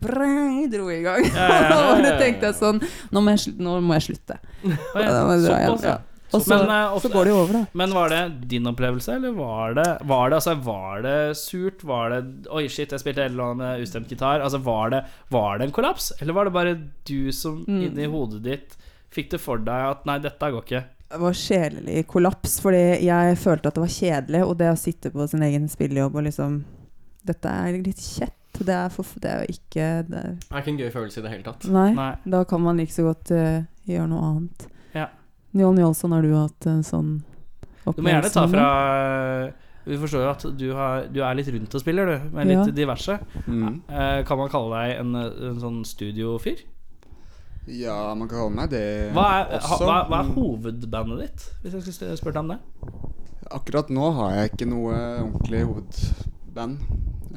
D: brei, dro i gang. Og da bare tenkte jeg sånn Nå må jeg, slu- nå må jeg slutte.
B: Å, ja.
D: Da må jeg dra hjem.
B: Såpass, ja.
D: Ja. Og så,
B: Men, eh, ofte-
D: så går det jo over, da.
B: Men var det din opplevelse, eller var det Var det, altså, var det surt? Var det Oi, shit, jeg spilte et eller annet med ustemt gitar. Altså, var det, var det en kollaps? Eller var det bare du som inni hodet ditt fikk det for deg at nei, dette går ikke?
D: Det var sjelelig kollaps, fordi jeg følte at det var kjedelig. Og det å sitte på sin egen spillejobb og liksom Dette er litt kjett. Det er, for, det er jo ikke det,
C: Det er ikke en gøy følelse i det hele tatt.
D: nei,
B: Nei.
D: Da kan man like så godt eh, gjøre noe annet.
B: Ja.
D: John Jolson, har du hatt en sånn opplevelse?
B: Du må gjerne ta
D: med
B: fra eh,
D: det?
B: Vi forstår jo at du, har, du er litt rundt og spiller, du. Med litt
D: Ja.
B: diverse.
E: Mm.
B: Eh, kan man kalle deg en, en sånn studiofyr?
E: Ja, man kan kalle meg det
B: Hva er, ha,
E: også.
B: hva, hva er
E: Mm.
B: hovedbandet ditt, hvis jeg skulle spurt deg om det?
E: Akkurat nå har jeg ikke noe ordentlig hovedband,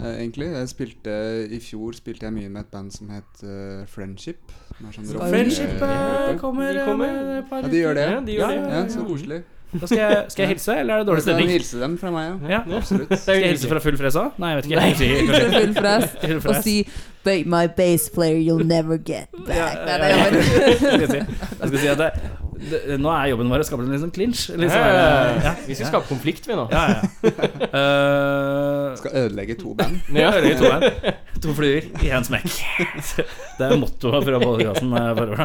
E: eh, egentlig. Jeg spilte, I fjor spilte jeg mye med et band som het eh, Friendship. som er sånn rock-
B: Friendship eh,
E: rockgruppe.
B: kommer,
C: De kommer.
B: med et par
E: Ja, de gjør det?
C: Ja, de gjør det.
E: Ja, så koselig.
B: Da skal jeg, skal jeg hilse, eller er det dårlig
E: Du kan
B: stemning?
E: hilse dem fra meg, ja.
B: Ja.
E: Absolutt.
B: Skal jeg hilse fra full fres òg? Nei, jeg vet ikke.
C: Nei.
B: Jeg sier kanskje-
D: Fra full fres,
B: Full
D: Og
B: fres.
D: si But my bass player you'll never get back.
B: Ja,
D: Nei,
B: ja,
D: nei,
B: ja.
D: jeg bare-
B: Jeg skal si- jeg skal si at det, det, nå er jobben vår å skape en liksom clinch. Liksom. Ja,
C: sånn, eh, Vi skal skape konflikt, vi nå.
B: ja, ja. Eh,
E: Skal ødelegge to band.
C: Ja.
B: hører vi to her. To flyer i én smekk. Det er mottoet fra eh, podkasten forover.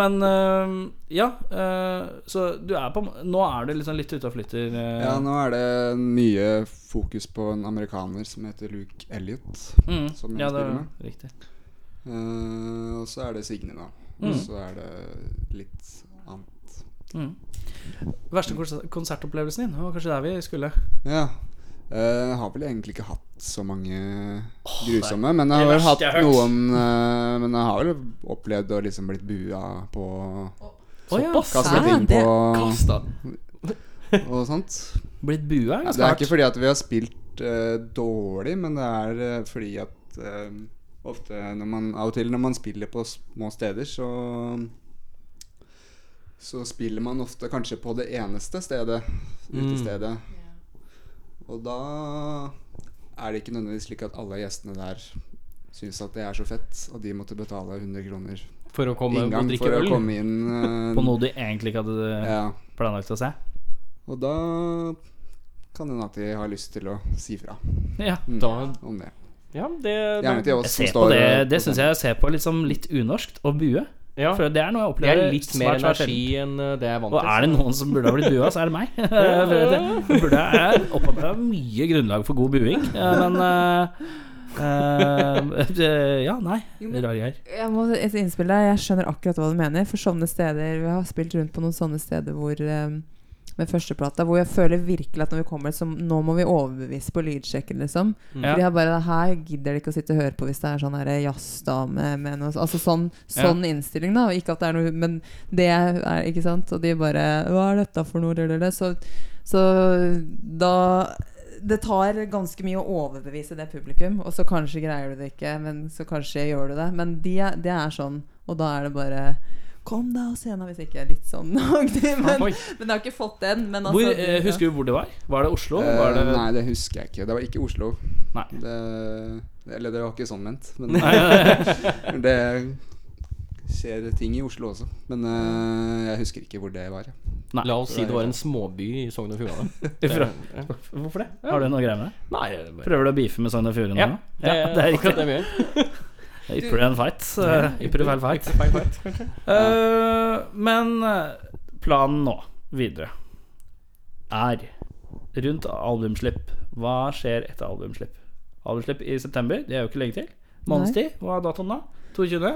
B: Men eh, ja, eh, så du er på Nå er du liksom litt ute og flytter. eh.
E: Ja, nå er det mye fokus på en amerikaner som heter Luke Elliot.
B: Mm.
E: som sånn jeg
B: ja, det
E: spiller
B: er
E: med.
B: riktig.
E: Eh, og så er det Signe, da. Og så er det litt annet.
B: Mm. Verste konser- konsertopplevelsen din? Det var kanskje der vi skulle.
E: Ja. Eh, jeg har vel egentlig ikke hatt så mange grusomme, men
B: det
E: jeg har vel
B: verste
E: hatt
B: jeg har hørt.
E: noen eh, Men jeg har vel opplevd å liksom blitt bua på
B: Å ja,
E: Kasta
D: Hæ?
E: ting
D: Det-
E: på
C: Kasta.
E: og sånt.
B: Blitt bua er
E: Det
B: ganske
E: er
B: hardt.
E: ikke fordi at vi har spilt eh, dårlig, men det er eh, fordi at eh, ofte når man, Av og til når man spiller på små steder, så Så spiller man ofte kanskje på det eneste stedet,
B: Mm.
E: utestedet. Og da er det ikke nødvendigvis slik at alle gjestene der syns at det er så fett, og de måtte betale 100 kroner
C: For å komme og
E: inngang
C: drikke
E: for å
C: øl.
E: komme inn. eh,
B: På noe de egentlig ikke hadde
E: ja.
B: planlagt å se.
E: Og da kan det hende at de har lyst til å si fra
B: Ja.
C: Da,
E: om det.
C: ja, det
E: Gjerne til oss
B: Jeg ser
E: som
B: på
E: står
B: det det syns jeg jeg ser på litt som litt unorskt å bue.
C: ja.
B: For det er noe jeg
C: Det
B: opplever
C: er litt mer
B: svært, svært
C: energi enn eh, det jeg er
B: sjelden.
C: vant
B: Og
C: til.
B: er det noen som burde ha blitt bua, så er det meg. Jeg vet det. Jeg burde jeg opparbeidet meg mye grunnlag for god buing, eh, men eh, eh, Ja, nei. Rare greier.
D: Jeg må et innspill der. Jeg skjønner akkurat hva du mener. For sånne steder Vi har spilt rundt på noen sånne steder hvor eh, med førsteplata, hvor jeg føler virkelig at når vi kommer så Nå må vi overbevise på lydsjekken, liksom. For de
B: Ja.
D: har bare det her gidder de ikke å sitte og høre på hvis det er sånn her jazzdame med noe Altså sånn, sånn innstilling, da. Og Ikke at det er noe Men det er Ikke sant? Og de bare Hva er dette for noe? Det, det, det. Så, så da det tar ganske mye å overbevise det publikum, og så kanskje greier du det ikke, men så kanskje gjør du det. Men det de er sånn, og da er det bare Kom deg av scenen hvis ikke. Litt sånn aktig. Men,
C: Oi.
D: men jeg har ikke fått den. Men altså,
B: Hvor, eh, husker du hvor det var? Var det Oslo? Var det...
E: Eh, nei, det husker jeg ikke. Det var ikke Oslo.
B: Nei.
E: Det, eller det var ikke sånn ment. Men det skjer ting i Oslo også. Men eh, jeg husker ikke hvor det var. jeg.
B: Nei.
C: La oss si det var en småby i Sogn og Fjordane.
B: Fra-
C: Ja.
B: Hvorfor det? Har du noe greier med det?
C: Nei, det er bare-
B: Prøver du å beefe med Sogn og Fjordane
C: ja,
B: nå?
C: det er,
B: det er
C: akkurat
B: ikke
C: det vi gjør.
B: Ypper du en fight? så Ypper du feil fight?
C: Feil, feil.
B: Eh, men eh, planen nå videre er rundt albumslipp. Hva skjer etter albumslipp? Albumslipp i september, det er jo ikke lenge til. Måneds tid. Hva er datoen da? 22.?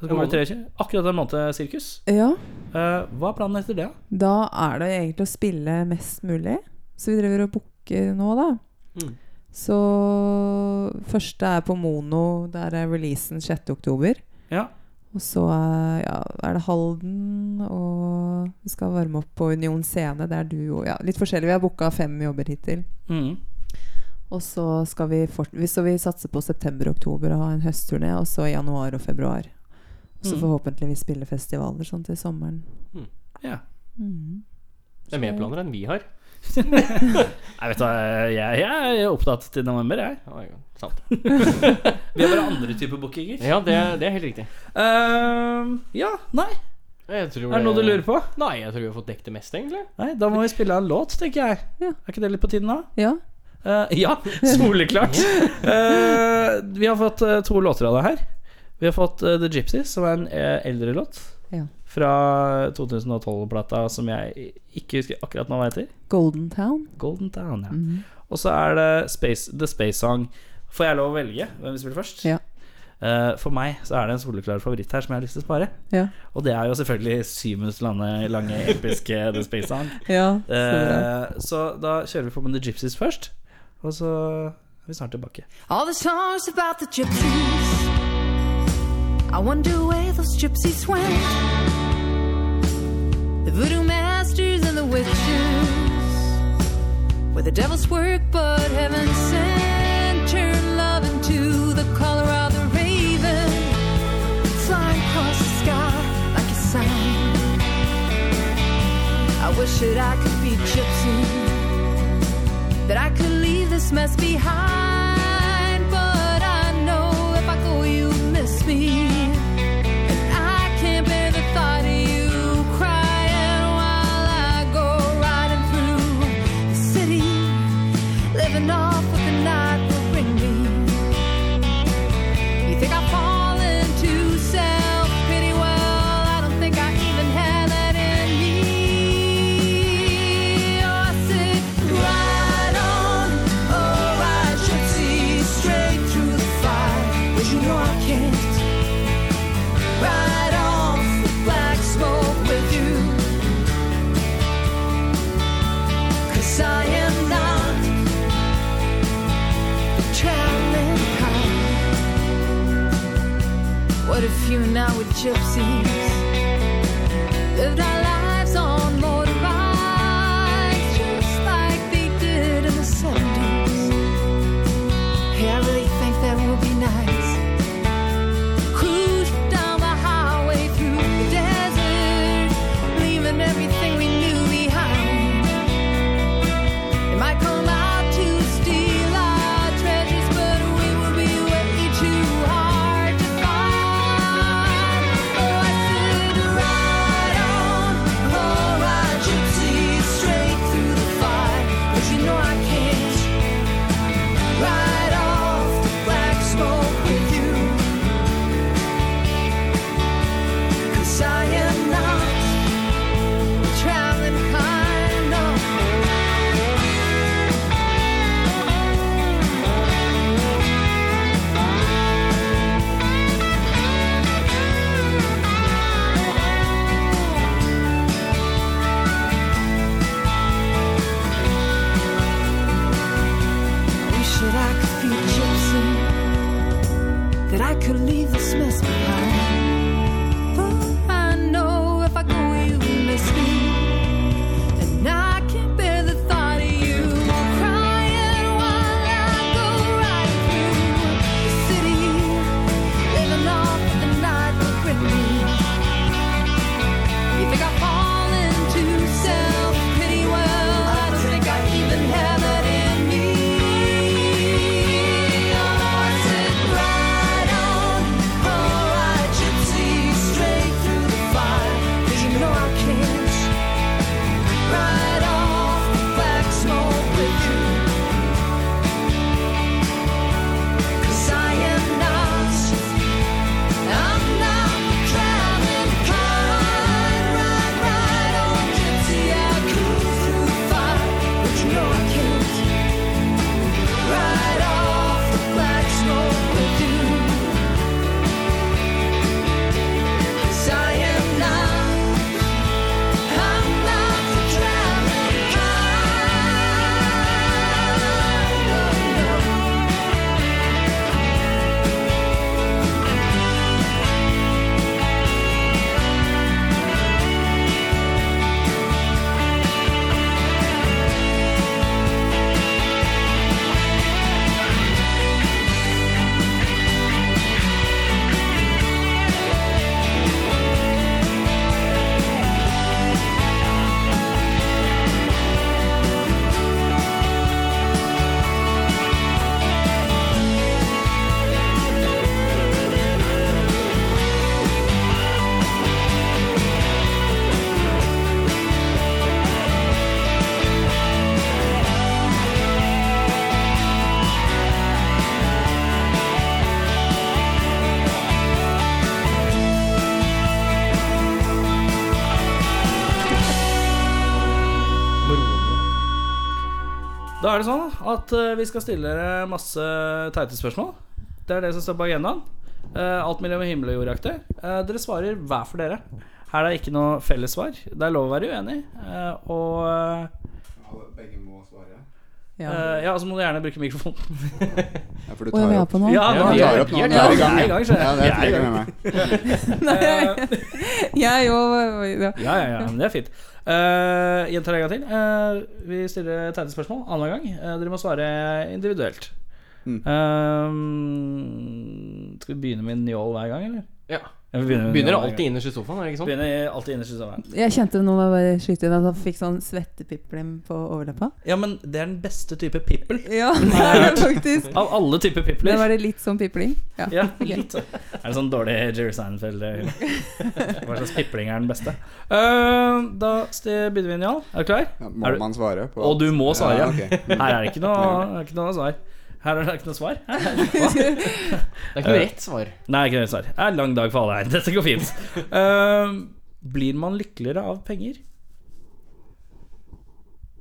B: Så kommer det 23. Akkurat en måned sirkus.
D: Ja,
B: Eh, hva er planen etter det?
D: da er det egentlig å spille mest mulig. Så vi driver og booker nå, da.
C: Mm.
D: Så første er på Mono. Der er releasen 6.10.
B: Ja.
D: Og så er, ja, er det Halden, og vi skal varme opp på Union Scene. Det er du og ja, litt forskjellig. Vi har booka fem jobber hittil.
B: Mm.
D: Og så skal vi fort, vi- Så vi satser på september og oktober og ha en høstturné, og så januar og februar. Og så
B: Mm.
D: forhåpentligvis spille festivaler sånn til sommeren.
B: ja.
D: Mm.
C: Det er mer planer enn vi har.
B: Jeg vet hva, jeg, jeg er opptatt til november, jeg.
C: Ja, det er jo sant.
B: Vi har bare andre typer bookinger. Eh,
C: Ja, det, det er helt riktig.
B: ja, nei.
C: Jeg tror
B: Er det noe du lurer på?
C: Nei, jeg tror vi har fått dekket det meste, egentlig.
B: Eh. Nei, Da må vi spille av en låt, tenker jeg.
D: Ja.
B: Er ikke det litt på tiden da?
D: Ja.
B: Eh, ja, soleklart. Eh, vi har fått eh, to låter av deg her. Vi har fått eh, The Gypsy, som er en eh, eldre låt.
D: Ja.
B: Fra 2012-plata som jeg ikke husker akkurat nå hva heter.
D: Golden Town.
B: Golden Town, ja.
D: Mhm.
B: Og så er det Space, The Space Song. Får jeg lov å velge hvem vi spiller først?
D: Ja.
B: Eh, for meg så er det en soleklar favoritt her som jeg har lyst til å spare.
D: Ja.
B: Og det er jo selvfølgelig Symus lange, lange episke The Space Song.
D: ja så bra.
B: Eh, så da kjører vi på med The Gypsies først, og så er vi snart tilbake.
F: All the songs about the gypsies. I wonder where those gypsies went. The voodoo masters and the witches. Where the devil's work, but heaven sent. Turn love into the color of the raven. Flying across the sky like a sign. I wish that I could be gypsy that I could leave this mess behind. But I know if I go, you'll miss me. And I can't bear the thought of you crying while I go riding through the city, living off what the night will bring me. You think I fall into self pity? Well, I don't think I even have that in me. Oh, I sit right on, oh, I should see straight through the fire, but you know I can't. Ride off the black smoke with you, 'Cause I am not the traveling kind. What if you and I were gypsies? Lived our lives on motorbikes, just like they did in the 70s. Hey, I really think that would be nice. Cruise down the highway through the desert, leaving everything we knew behind. They might come out to steal our treasures, but we will be way too hard to find. Oh, I see You think I fall into self pity? Well, I don't think I even have that in me. Oh, I said, right on, alright, gypsy, straight through the fire. 'Cause you know I can't ride off the black smoke with you. 'Cause I am not I'm not traveling kind. Ride, ride on, gypsy. I cruise through the fire, but you know I can't ride off the black smoke with you. 'Cause I am not. I'm not the traveling kind. No, no.
B: Da er det sånn at eh, vi skal stille dere masse teite spørsmål. Det er det som står på agendaen. Eh, alt mellom himmel og jordaktig. Eh, dere svarer hver for dere. Her er det ikke noe felles svar. Det er lov å være uenig. eh, og
E: Begge må svare.
B: eh,
D: Ja.
B: ja, så må du gjerne bruke mikrofonen.
E: Ja, for du
D: Og jeg
E: tar
D: vil ha
E: opp.
D: på nå.
B: Ja,
C: Ja,
B: nå
C: vi
B: er
C: er-
B: det-
E: nå.
B: vi er
E: Nå er
B: i
E: vi i gang,
B: gang, skjønner jeg.
E: Ja, det er
B: Jeg er i
E: flere
B: gang.
E: med meg.
D: Nei, jeg òg.
B: Ja, ja, ja, men det er fint. Uh, Gjentar en gang til. Eh, vi stiller teite spørsmål annenhver gang. Eh, dere må svare individuelt.
E: Mm.
B: Eh, skal vi begynne med Njål hver gang, eller?
C: Ja.
B: Ja, vi begynner med
C: Begynner
B: Njål hver
C: alltid innerst i sofaen, er det ikke
B: gang.
C: sånn?
B: Begynner alltid innerst i sofaen.
D: Jeg kjente det nå da jeg bare skyte inn at han fikk sånn svettepiplem på overleppa.
B: Ja, men det er den beste type pippel.
D: Ja, det er det faktisk.
B: Av alle typer
D: Det
B: pipler.
D: var det litt sånn pipling. Ja.
B: Ja, litt. Er det sånn dårlig Jerry Seinfeld? eh, Hva slags pipling er den beste? Eh, da st- begynner vi, Njål. Er du klar?
E: Ja,
B: Er
E: må
B: du-
E: man svare? På
B: Og du må svare.
E: Ja, ok.
B: Her er det ikke noe, ikke noe svar. Her er det ikke noe svar.
C: Det er ikke noe rett svar.
B: Nei, ikke noe svar. Det er en lang dag for alle her. Dette går fint. Ehm, blir man lykkeligere av penger?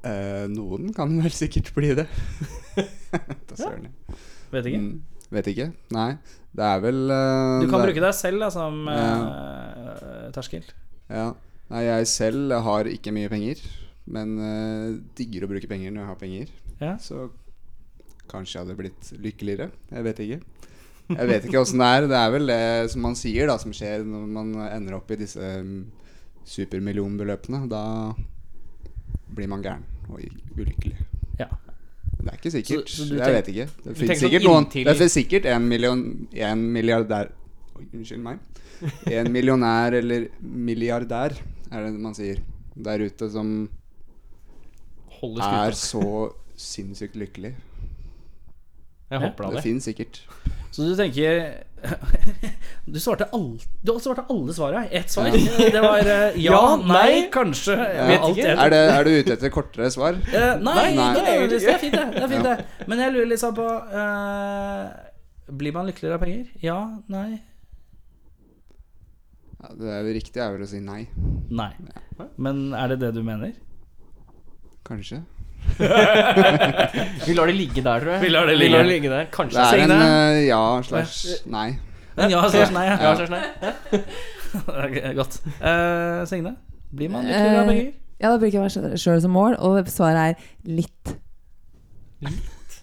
E: Eh, noen kan vel sikkert bli det. da søren.
B: Vet ikke.
E: Mm, vet ikke. Nei. Det er vel eh,
B: Du kan
E: det er-
B: bruke deg selv da, som eh, terskel.
E: Ja. Nei, jeg selv har ikke mye penger, men eh, digger å bruke penger når jeg har penger.
B: Ja.
E: Så kanskje jeg hadde blitt lykkeligere. Jeg vet ikke. Jeg vet ikke åssen det er. Det er vel det som man sier, da, som skjer når man ender opp i disse mm, supermillionbeløpene. Da blir man gæren og u- ulykkelig.
B: Ja.
E: Men det er ikke sikkert.
C: Så- så du
E: jeg vet ikke. Det
C: tenker
E: finnes
C: sånn
E: sikkert noen
C: inntil-
E: Det finnes sikkert en million En milliardær Oi, unnskyld meg. En millionær eller milliardær, er det man sier, der ute som
C: Holder
E: er
C: skuta.
E: så sinnssykt lykkelig.
C: Jeg håper da
E: Det
C: det.
E: finnes sikkert.
B: Så du tenker Du svarte alle, du svarte alle svarene. Ett svar.
E: Ja.
B: Det var eh, ja,
C: Ja,
B: nei,
C: nei.
B: kanskje.
E: Ja.
B: Vet ikke.
E: Er, det, er du ute etter kortere svar?
B: Eh, nei,
E: Nei.
B: ikke
E: Nei.
B: nødvendigvis. Det er fint, det. det, er fint,
E: Ja.
B: det. Men jeg lurer litt sånn på eh, Blir man lykkeligere av penger? Ja? Nei?
E: Ja, det er vel riktig er vel å si nei.
B: Nei. Men er det det du mener?
E: Kanskje.
C: Vi lar det ligge der, tror jeg.
B: Vi lar det ligge.
C: der. Kanskje
E: Det er en
C: Signe.
E: eh, ja slash nei.
B: Men ja, sier nei.
C: Ja,
B: Ja.
C: Kjærsten her.
B: Eh, Ok, Godt. Eh, Signe, blir man lykkeligere av
D: Eh,
B: penger?
D: Ja, da bruker jeg meg sjøl som mål, og svaret er litt.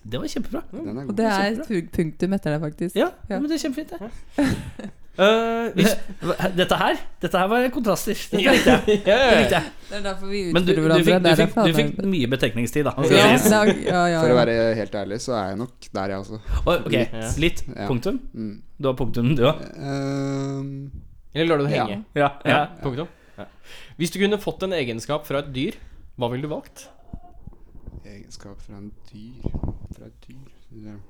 B: Det var kjempebra.
C: Mm.
E: Den er
D: Og
E: god.
D: det er et pu- punktum etter det, faktisk.
B: Ja,
D: Ja.
B: men det er kjempefint, det.
C: Eh, hvis-
B: Hva- Dette her Dette her var kontraster. Dette
C: Ja,
B: likte jeg.
C: ja,
B: Det likte
C: ja.
B: jeg.
D: Det er derfor vi
B: Men du,
D: utfordrer
B: du,
D: hverandre.
B: fikk, du,
D: det er
B: fikk,
D: derfor
B: du fikk
D: alle-
B: mye betenkningstid, da. skal
D: ja,
B: det sies.
D: ja, ja, ja.
E: For å være helt ærlig, så er jeg nok der, jeg også.
B: Og- Ok,
C: Ja.
B: Litt
E: Ja.
B: punktum.
E: Mm.
B: Du har punktum, du òg.
E: Ehm,
C: Eller lar du det
E: Ja.
C: henge?
B: Ja, ja.
C: Punktum. Hvis du kunne fått en egenskap fra et dyr, hva ville du valgt?
E: Egenskap fra en dyr Fra et dyr Det-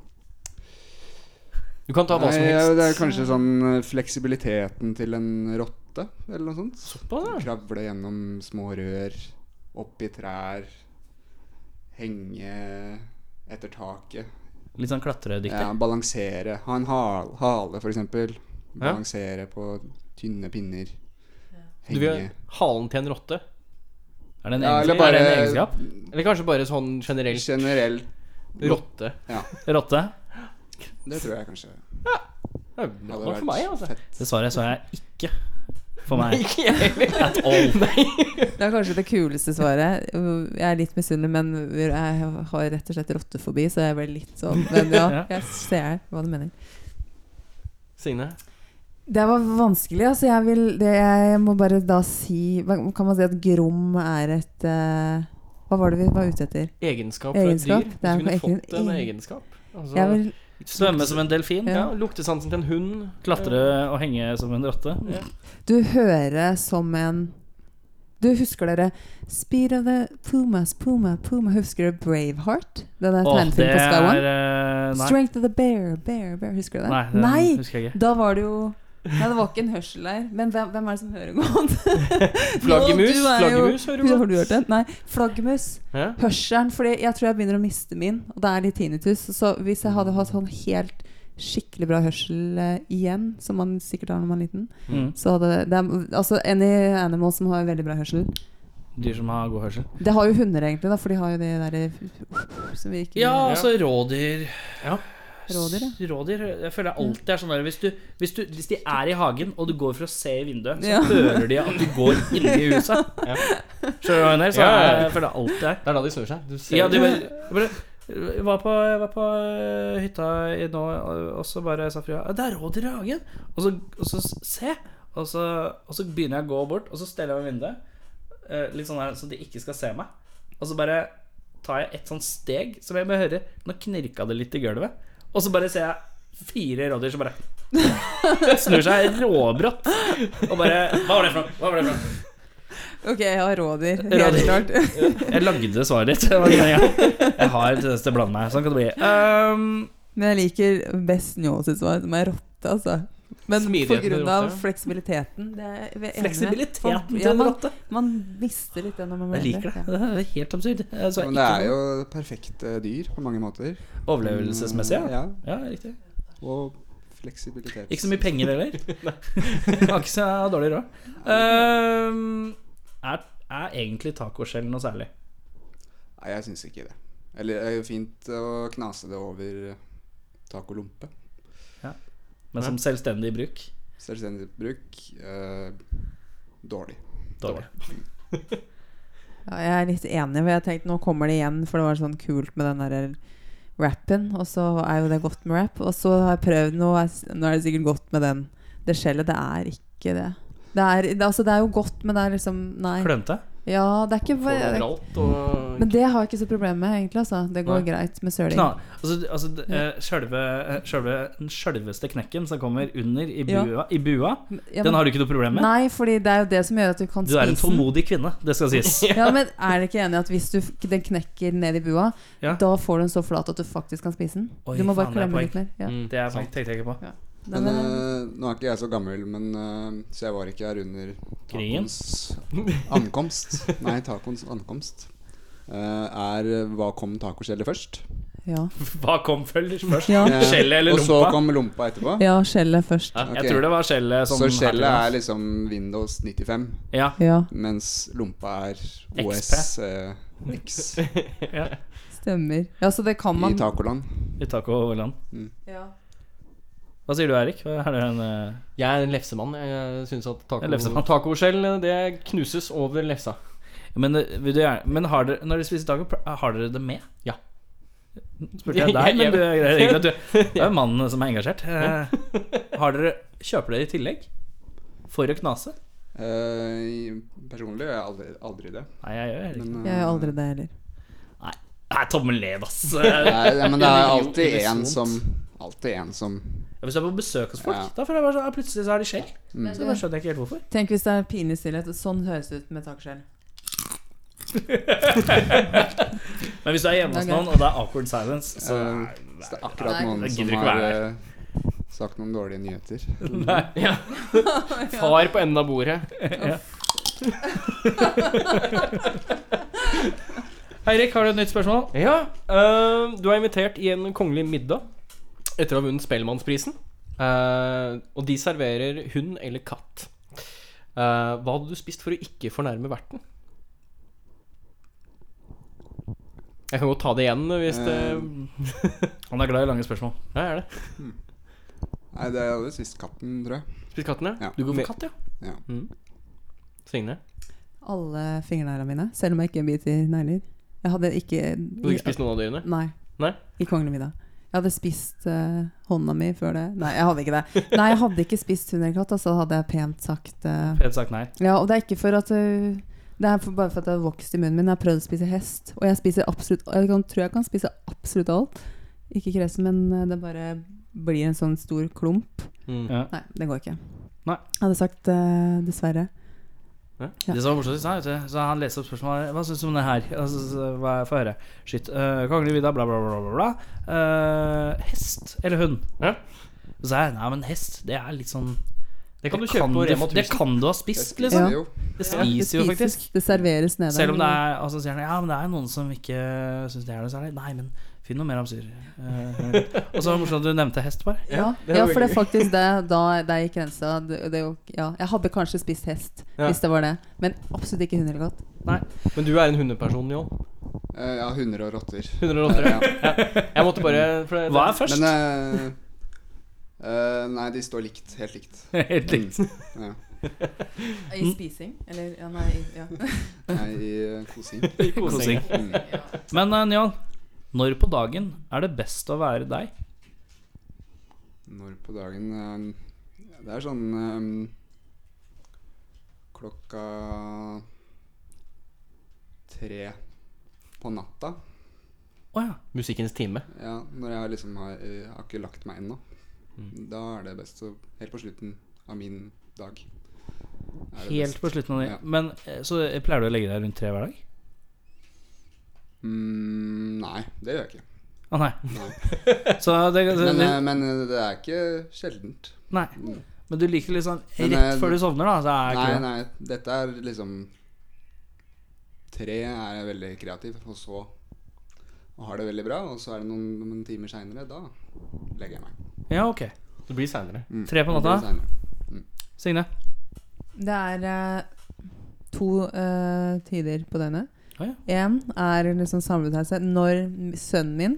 C: Du kan ta hva som
E: Nei, ja,
C: helst.
E: Det er kanskje sånn eh, fleksibiliteten til en rotte, eller noe sånt.
C: Såpass, ja.
E: Kravle gjennom små rør, opp i trær, henge etter taket.
B: Litt sånn
E: Ja,
B: klatredyktig.
E: balansere. Ha en hal, hale, for eksempel.
C: Ja.
E: Balansere på tynne pinner.
C: Du vil ha
E: Henge.
C: halen til en rotte?
B: Er det en,
E: Ja, eller
B: egentlig, er det en
E: bare-
B: egenskap?
C: Eller kanskje bare sånn generelt
E: Generelt.
C: rotte?
B: Rotte?
E: Det tror jeg kanskje
C: Det er bra nok for meg, altså.
E: fett.
B: Det svaret så jeg ikke for meg.
C: Ikke jeg heller.
B: At all.
D: Det er kanskje det kuleste svaret. Jeg er litt misunnelig, men jeg har rett og slett rottefobi, så jeg ble litt sånn Men ja,
B: Ja.
D: jeg ser hva du mener.
C: Signe.
D: Det var vanskelig. altså Jeg vil det, Jeg må bare da si hva- Kan man si at grom er et eh, Hva var det vi var ute etter?
C: Egenskap fra et
D: Egenskap?
C: dyr.
D: Det
C: Hvis
D: er
C: du kunne
D: jo egentlig
C: fått en
D: en-
C: egenskap. Altså,
D: Jeg vil,
B: Svømme som en delfin.
C: ja, Luktesansen til en hund.
B: Klatre og henge som en rotte.
D: du hører som en Du husker dere Speed of the Pumas, Puma, Puma Husker dere Braveheart? Den der
B: Åh, det
D: tegnefilmen på Sky
B: er
D: One?
B: eh, Nei,
D: Strength of the Bear, Bear, Bear. Husker du det?
B: nei, det husker jeg ikke.
D: Da var det jo Nei, det var ikke en hørsel der. Men hvem, hvem er det som hører godt?
C: Flaggermus.
D: Du er jo-
C: Flaggermus, hører du
D: Har
C: på?
D: du hørt den? Nei. Flaggermus.
C: Ja.
D: Hørselen. Fordi jeg tror jeg begynner å miste min, og det er litt tinnitus. Så hvis jeg hadde hatt sånn helt skikkelig bra hørsel eh, igjen, som man sikkert har når man er liten
B: Mm.
D: så hadde det, er, Altså Any Animal som har veldig bra hørsel.
B: Dyr som har god hørsel.
D: Det har jo hunder, egentlig, da, for de har jo de derre som vi ikke
B: Ja, altså rådyr.
D: Rådyr, ja.
B: Rådyr, Jeg føler jeg alltid er sånn der hvis, du, hvis, du, hvis de er i hagen, og du går for å se i vinduet, så
D: Ja.
B: hører de at du går inne i huset.
C: Ja.
B: Skjønner du hva jeg mener? Så
C: Ja, ja, ja.
B: er- jeg føler jeg alltid er
C: Det er da de snur seg. Du ser
B: Ja, de bare, jeg bare jeg eh, var på, jeg var på øh, hytta i nå, og så bare sa frua «Ja, 'Det er rådyr i hagen!' Og så, og så s- se! Og så, og så begynner jeg å gå bort, og så steller jeg meg i vinduet, eh, litt sånn her, så de ikke skal se meg. Og så bare tar jeg et sånt steg, som jeg må høre Nå knirka det litt i gulvet. Og så bare ser jeg fire rådyr som bare snur seg råbrått. Og bare 'Hva var det for noe?' Hva var det for noe?
D: Ok, jeg har rådyr.
B: Rådyr.
D: Helt klart.
B: Jeg lagde svaret ditt. Det var det Jeg jeg har en tendens til å blande meg. Sånn kan det bli. Ehm,
D: Men jeg liker best Njå sitt svar, som er rotte, altså. Men
C: Smidigheten i
D: pga.
C: rotte.
D: fleksibiliteten. Det er jeg enig med.
B: Fleksibiliteten
D: Man-
B: til en
D: man-
B: rotte.
D: Man mister litt det når man blir
B: Jeg liker det.
D: eldre.
B: Det er helt absurd. Altså,
E: Men det er jo perfekte dyr på mange måter. Mm,
B: Overlevelsesmessig, ja.
E: ja.
B: ja. Riktig.
E: Og fleksibilitet.
B: Ikke så mye penger heller. Har ikke så dårlig råd. Ehm, er, er egentlig tacoskjell noe særlig?
E: Nei, jeg syns ikke det. Eller det er jo fint å knase det over tacolompe.
B: Men som selvstendig bruk?
E: Selvstendig bruk eh, dårlig.
B: Dårlig.
D: Ja, jeg er litt enig, for jeg tenkte nå kommer det igjen, for det var sånn kult med den der rappen, og så er jo det godt med rap. Og så har jeg prøvd noe, nå er det sikkert godt med den. Det skjellet, det er ikke det. Det er, det, altså, det er jo godt, men det er liksom Nei.
B: Klønete?
D: Ja, det er ikke
C: får overalt og
D: Men det har jeg ikke så problem med, egentlig. Altså. Det går
C: Nei.
D: greit med søling.
B: Kna, altså, altså det, eh, sjølve, eh, sjølve, den sjølveste knekken som kommer under i
D: Ja.
B: bua, i bua
D: Ja,
B: den
D: men-
B: har du ikke noe problem med?
D: Nei, fordi det er jo det som gjør at du kan
B: Du er en
D: spise den.
B: tålmodig kvinne, det skal sies.
D: Ja, men er dere ikke enig i at hvis du, f- den knekker ned i bua,
B: Ja.
D: da får du den så flat at du faktisk kan spise den?
B: Oi,
D: du må
B: faen,
D: bare
B: det er
D: klemme litt mer. Ja.
C: Mm.
B: Det er sant, tenkte jeg ikke på.
D: Nei,
E: Men
D: men,
E: eh, nå er ikke jeg så gammel, men eh, så jeg var ikke her under
B: Krigen?
E: tacoens ankomst. Nei, tacoens ankomst. Eh, er eh, hva kom tacoskjellet først?
D: ja.
B: Hva kom følger først?
D: Ja.
E: Eh,
B: Skjellet eller
E: Og så
B: lompa?
E: kom lompa etterpå.
D: ja, skjellet først.
B: Ja,
E: Ok.
B: Jeg tror det var skjellet som
E: så skjellet er liksom Windows 95,
B: Ja.
D: Ja,
E: mens lompa er OS eh, X
B: ja.
D: stemmer. Ja, så det kan
E: i
D: man
E: tacoland.
B: I tacoland.
D: ja.
B: Hva sier du, Erik? Hva Er det en, eh,
C: Jeg er en lefsemann. Jeg syns at taco,
B: En lefsemann.
C: tacoskjell det knuses over lefsa.
B: men eh, vil du gjerne Men har dere, når dere spiser taco, pl- har dere det med?
C: Ja.
B: Spurte jeg deg, men du, det er egentlig at du, det er jo mannen som er engasjert. Eh, Har dere Kjøper dere i tillegg? For å knase?
E: Eh, personlig gjør jeg aldri, aldri det.
B: Nei, jeg gjør ikke det.
E: Men,
D: Jeg
E: eh,
D: gjør aldri det heller.
B: Nei, tommel ned, ass.
E: Nei, ja, men det er alltid
B: Unisont.
E: en som Alltid en som
B: Hvis jeg er på besøk hos folk,
E: Ja.
B: da føler jeg bare sånn, ja, plutselig så er de skjell.
E: Mm.
B: Så bare skjønner jeg ikke helt hvorfor.
D: Tenk hvis det er pinlig stillhet. Sånn høres det ut med takskjell.
B: Men hvis du er hjemme hos
D: Det er
B: noen, og det er awkward silence, så
E: Eh, så det er akkurat
D: Nei,
E: noen
B: jeg
E: som
B: gidder ikke
E: har
B: være
E: eh, sagt noen dårlige nyheter.
B: Nei.
C: Ja. Far på enden av bordet.
B: Eirik, har du et nytt spørsmål?
C: Ja, eh, du er invitert i en kongelig middag etter å ha vunnet Spellemannsprisen. Eh, og de serverer hund eller katt. Eh, hva hadde du spist for å ikke fornærme verten? Jeg kan godt ta det igjen hvis det
B: Han er glad i lange spørsmål.
C: Ja, er det.
E: Nei, det er jo sist katten, tror jeg.
C: Spist katten, ja?
E: Ja.
C: Du går for katt, ja?
E: Ja.
C: Mm. Signe?
D: Alle fingerneglene mine, selv om jeg ikke biter negler. Jeg hadde ikke
C: Du har ikke spist noen av dyrene?
D: Nei.
C: Nei?
D: I kongelig middag. Jeg hadde spist eh, hånda mi før det. Nei, jeg hadde ikke det. Nei, jeg hadde ikke spist hund eller katt, altså hadde jeg pent sagt eh,
B: Helt sagt nei.
D: Ja, og det er ikke for at øh, Det er for, bare for at det har vokst i munnen min. Jeg har prøvd å spise hest, og jeg spiser absolutt Jeg kan, tror jeg kan spise absolutt alt. Ikke kresen, men øh, det bare blir en sånn stor klump.
C: Mm.
B: Ja.
D: Nei, det går ikke.
B: Nei.
D: Jeg hadde sagt øh, dessverre. Ja.
B: Det som var morsomt, så, vet du, eh, så han leser opp spørsmålet Hva syns du om det her? Altså, så, hva Få høre. Shit. Uh, Kongelig middag, bla, bla, bla, bla. bla. Eh, hest eller hund?
C: Ja.
B: Så sa jeg nei, men hest, det er litt sånn
C: Det kan du kjøpe på Rema
B: Det
C: 1000.
B: kan du ha
E: Jeg
B: spist,
E: spiser
B: liksom.
E: jo.
B: Det spiser jo faktisk.
D: Det serveres nede.
B: Selv om det er Og så sier han ja, men det er noen som ikke syns det er noe særlig. Nei, men finn noe mer absurd. Eh, og så var det morsomt at du nevnte hest, bare.
D: ja,
C: det er
D: ja,
C: veldig
D: for det er faktisk det da der gikk grensa. Det, det, er jo- ja. Jeg hadde kanskje spist hest
C: Ja.
D: hvis det var det, men absolutt ikke hund eller katt.
C: Men du er en hundeperson, Njål.
E: Eh, ja, hunder og rotter.
C: 108.
E: Ja.
C: Jeg måtte bare for det,
B: Hva er først?
E: Men eh, eh, Nei, de står likt. Helt likt.
B: eh, Helt likt.
E: Mm. Ja.
C: Hm?
D: I spising? Eller ja, nei ja.
E: Nei, i eh, kosing.
B: Kosing.
E: Mm.
B: Men uh, Njål, når på dagen er det best å være deg?
E: Når på dagen eh, ja, Det er sånn eh, klokka tre på natta.
B: Å ja.
C: Musikkens time.
E: Ja, når jeg liksom har, eh, har ikke lagt meg ennå. Da er det best å Helt på slutten av min dag. er det
B: Helt
E: best.
B: på slutten av det.
E: Ja.
B: Men eh, Så pleier du å legge deg rundt tre hver dag?
E: Mm, nei, det gjør jeg ikke.
B: Å nei.
E: Nei.
B: Så det, det,
E: Men,
B: det,
E: eh, men eh, det er ikke sjeldent.
B: nei. Men du liker litt sånn
E: Men,
B: rett
E: eh,
B: før du sovner, da? Så er
E: Nei,
B: ikke det.
E: nei, dette er liksom Tre er jeg veldig kreativ, og så og har det veldig bra. Og så er det noen, noen timer seinere, da legger jeg meg.
B: Ja, ok.
C: Det blir seinere.
B: Tre på
E: Det blir
B: natta?
E: senere.
B: Signe?
D: Det er eh, to eh, tider på døgnet.
B: Å ja.
D: Én er liksom samlebetennelse. Når m- sønnen min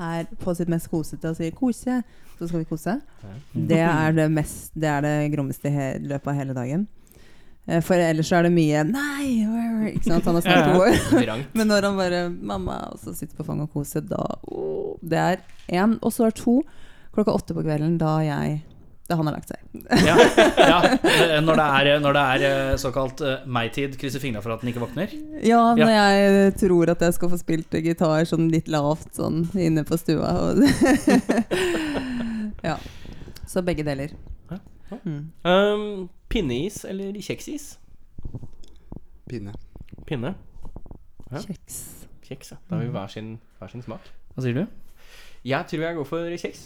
D: er på sitt mest kosete og sier 'kose', så skal vi kose. Det er det, mest, det, er det grommeste i he- løpet av hele dagen. Eh, For ellers så er det mye 'nei', øh, øh», ikke sant? Han er snart to år.
C: Vrangt.
D: Men når han bare 'mamma', og så sitter på fanget og koser, da åh, Det er én. Og så er det to klokka åtte på kvelden, da jeg Da han har lagt seg.
B: ja. ja. Eh, Når det er, når det er eh, såkalt eh, meg-tid, krysser fingra for at den ikke våkner?
D: Ja,
B: Ja.
D: når jeg tror at jeg skal få spilt gitar sånn litt lavt sånn inne på stua. Og ja. Så begge deler.
C: Um, pinneis eller kjeksis?
E: Pinne.
C: Pinne. Ja.
D: Kjeks.
C: Kjeks, ja. Da har vi hver sin, hver sin smak.
B: Hva sier du?
C: Jeg tror jeg går for kjeks.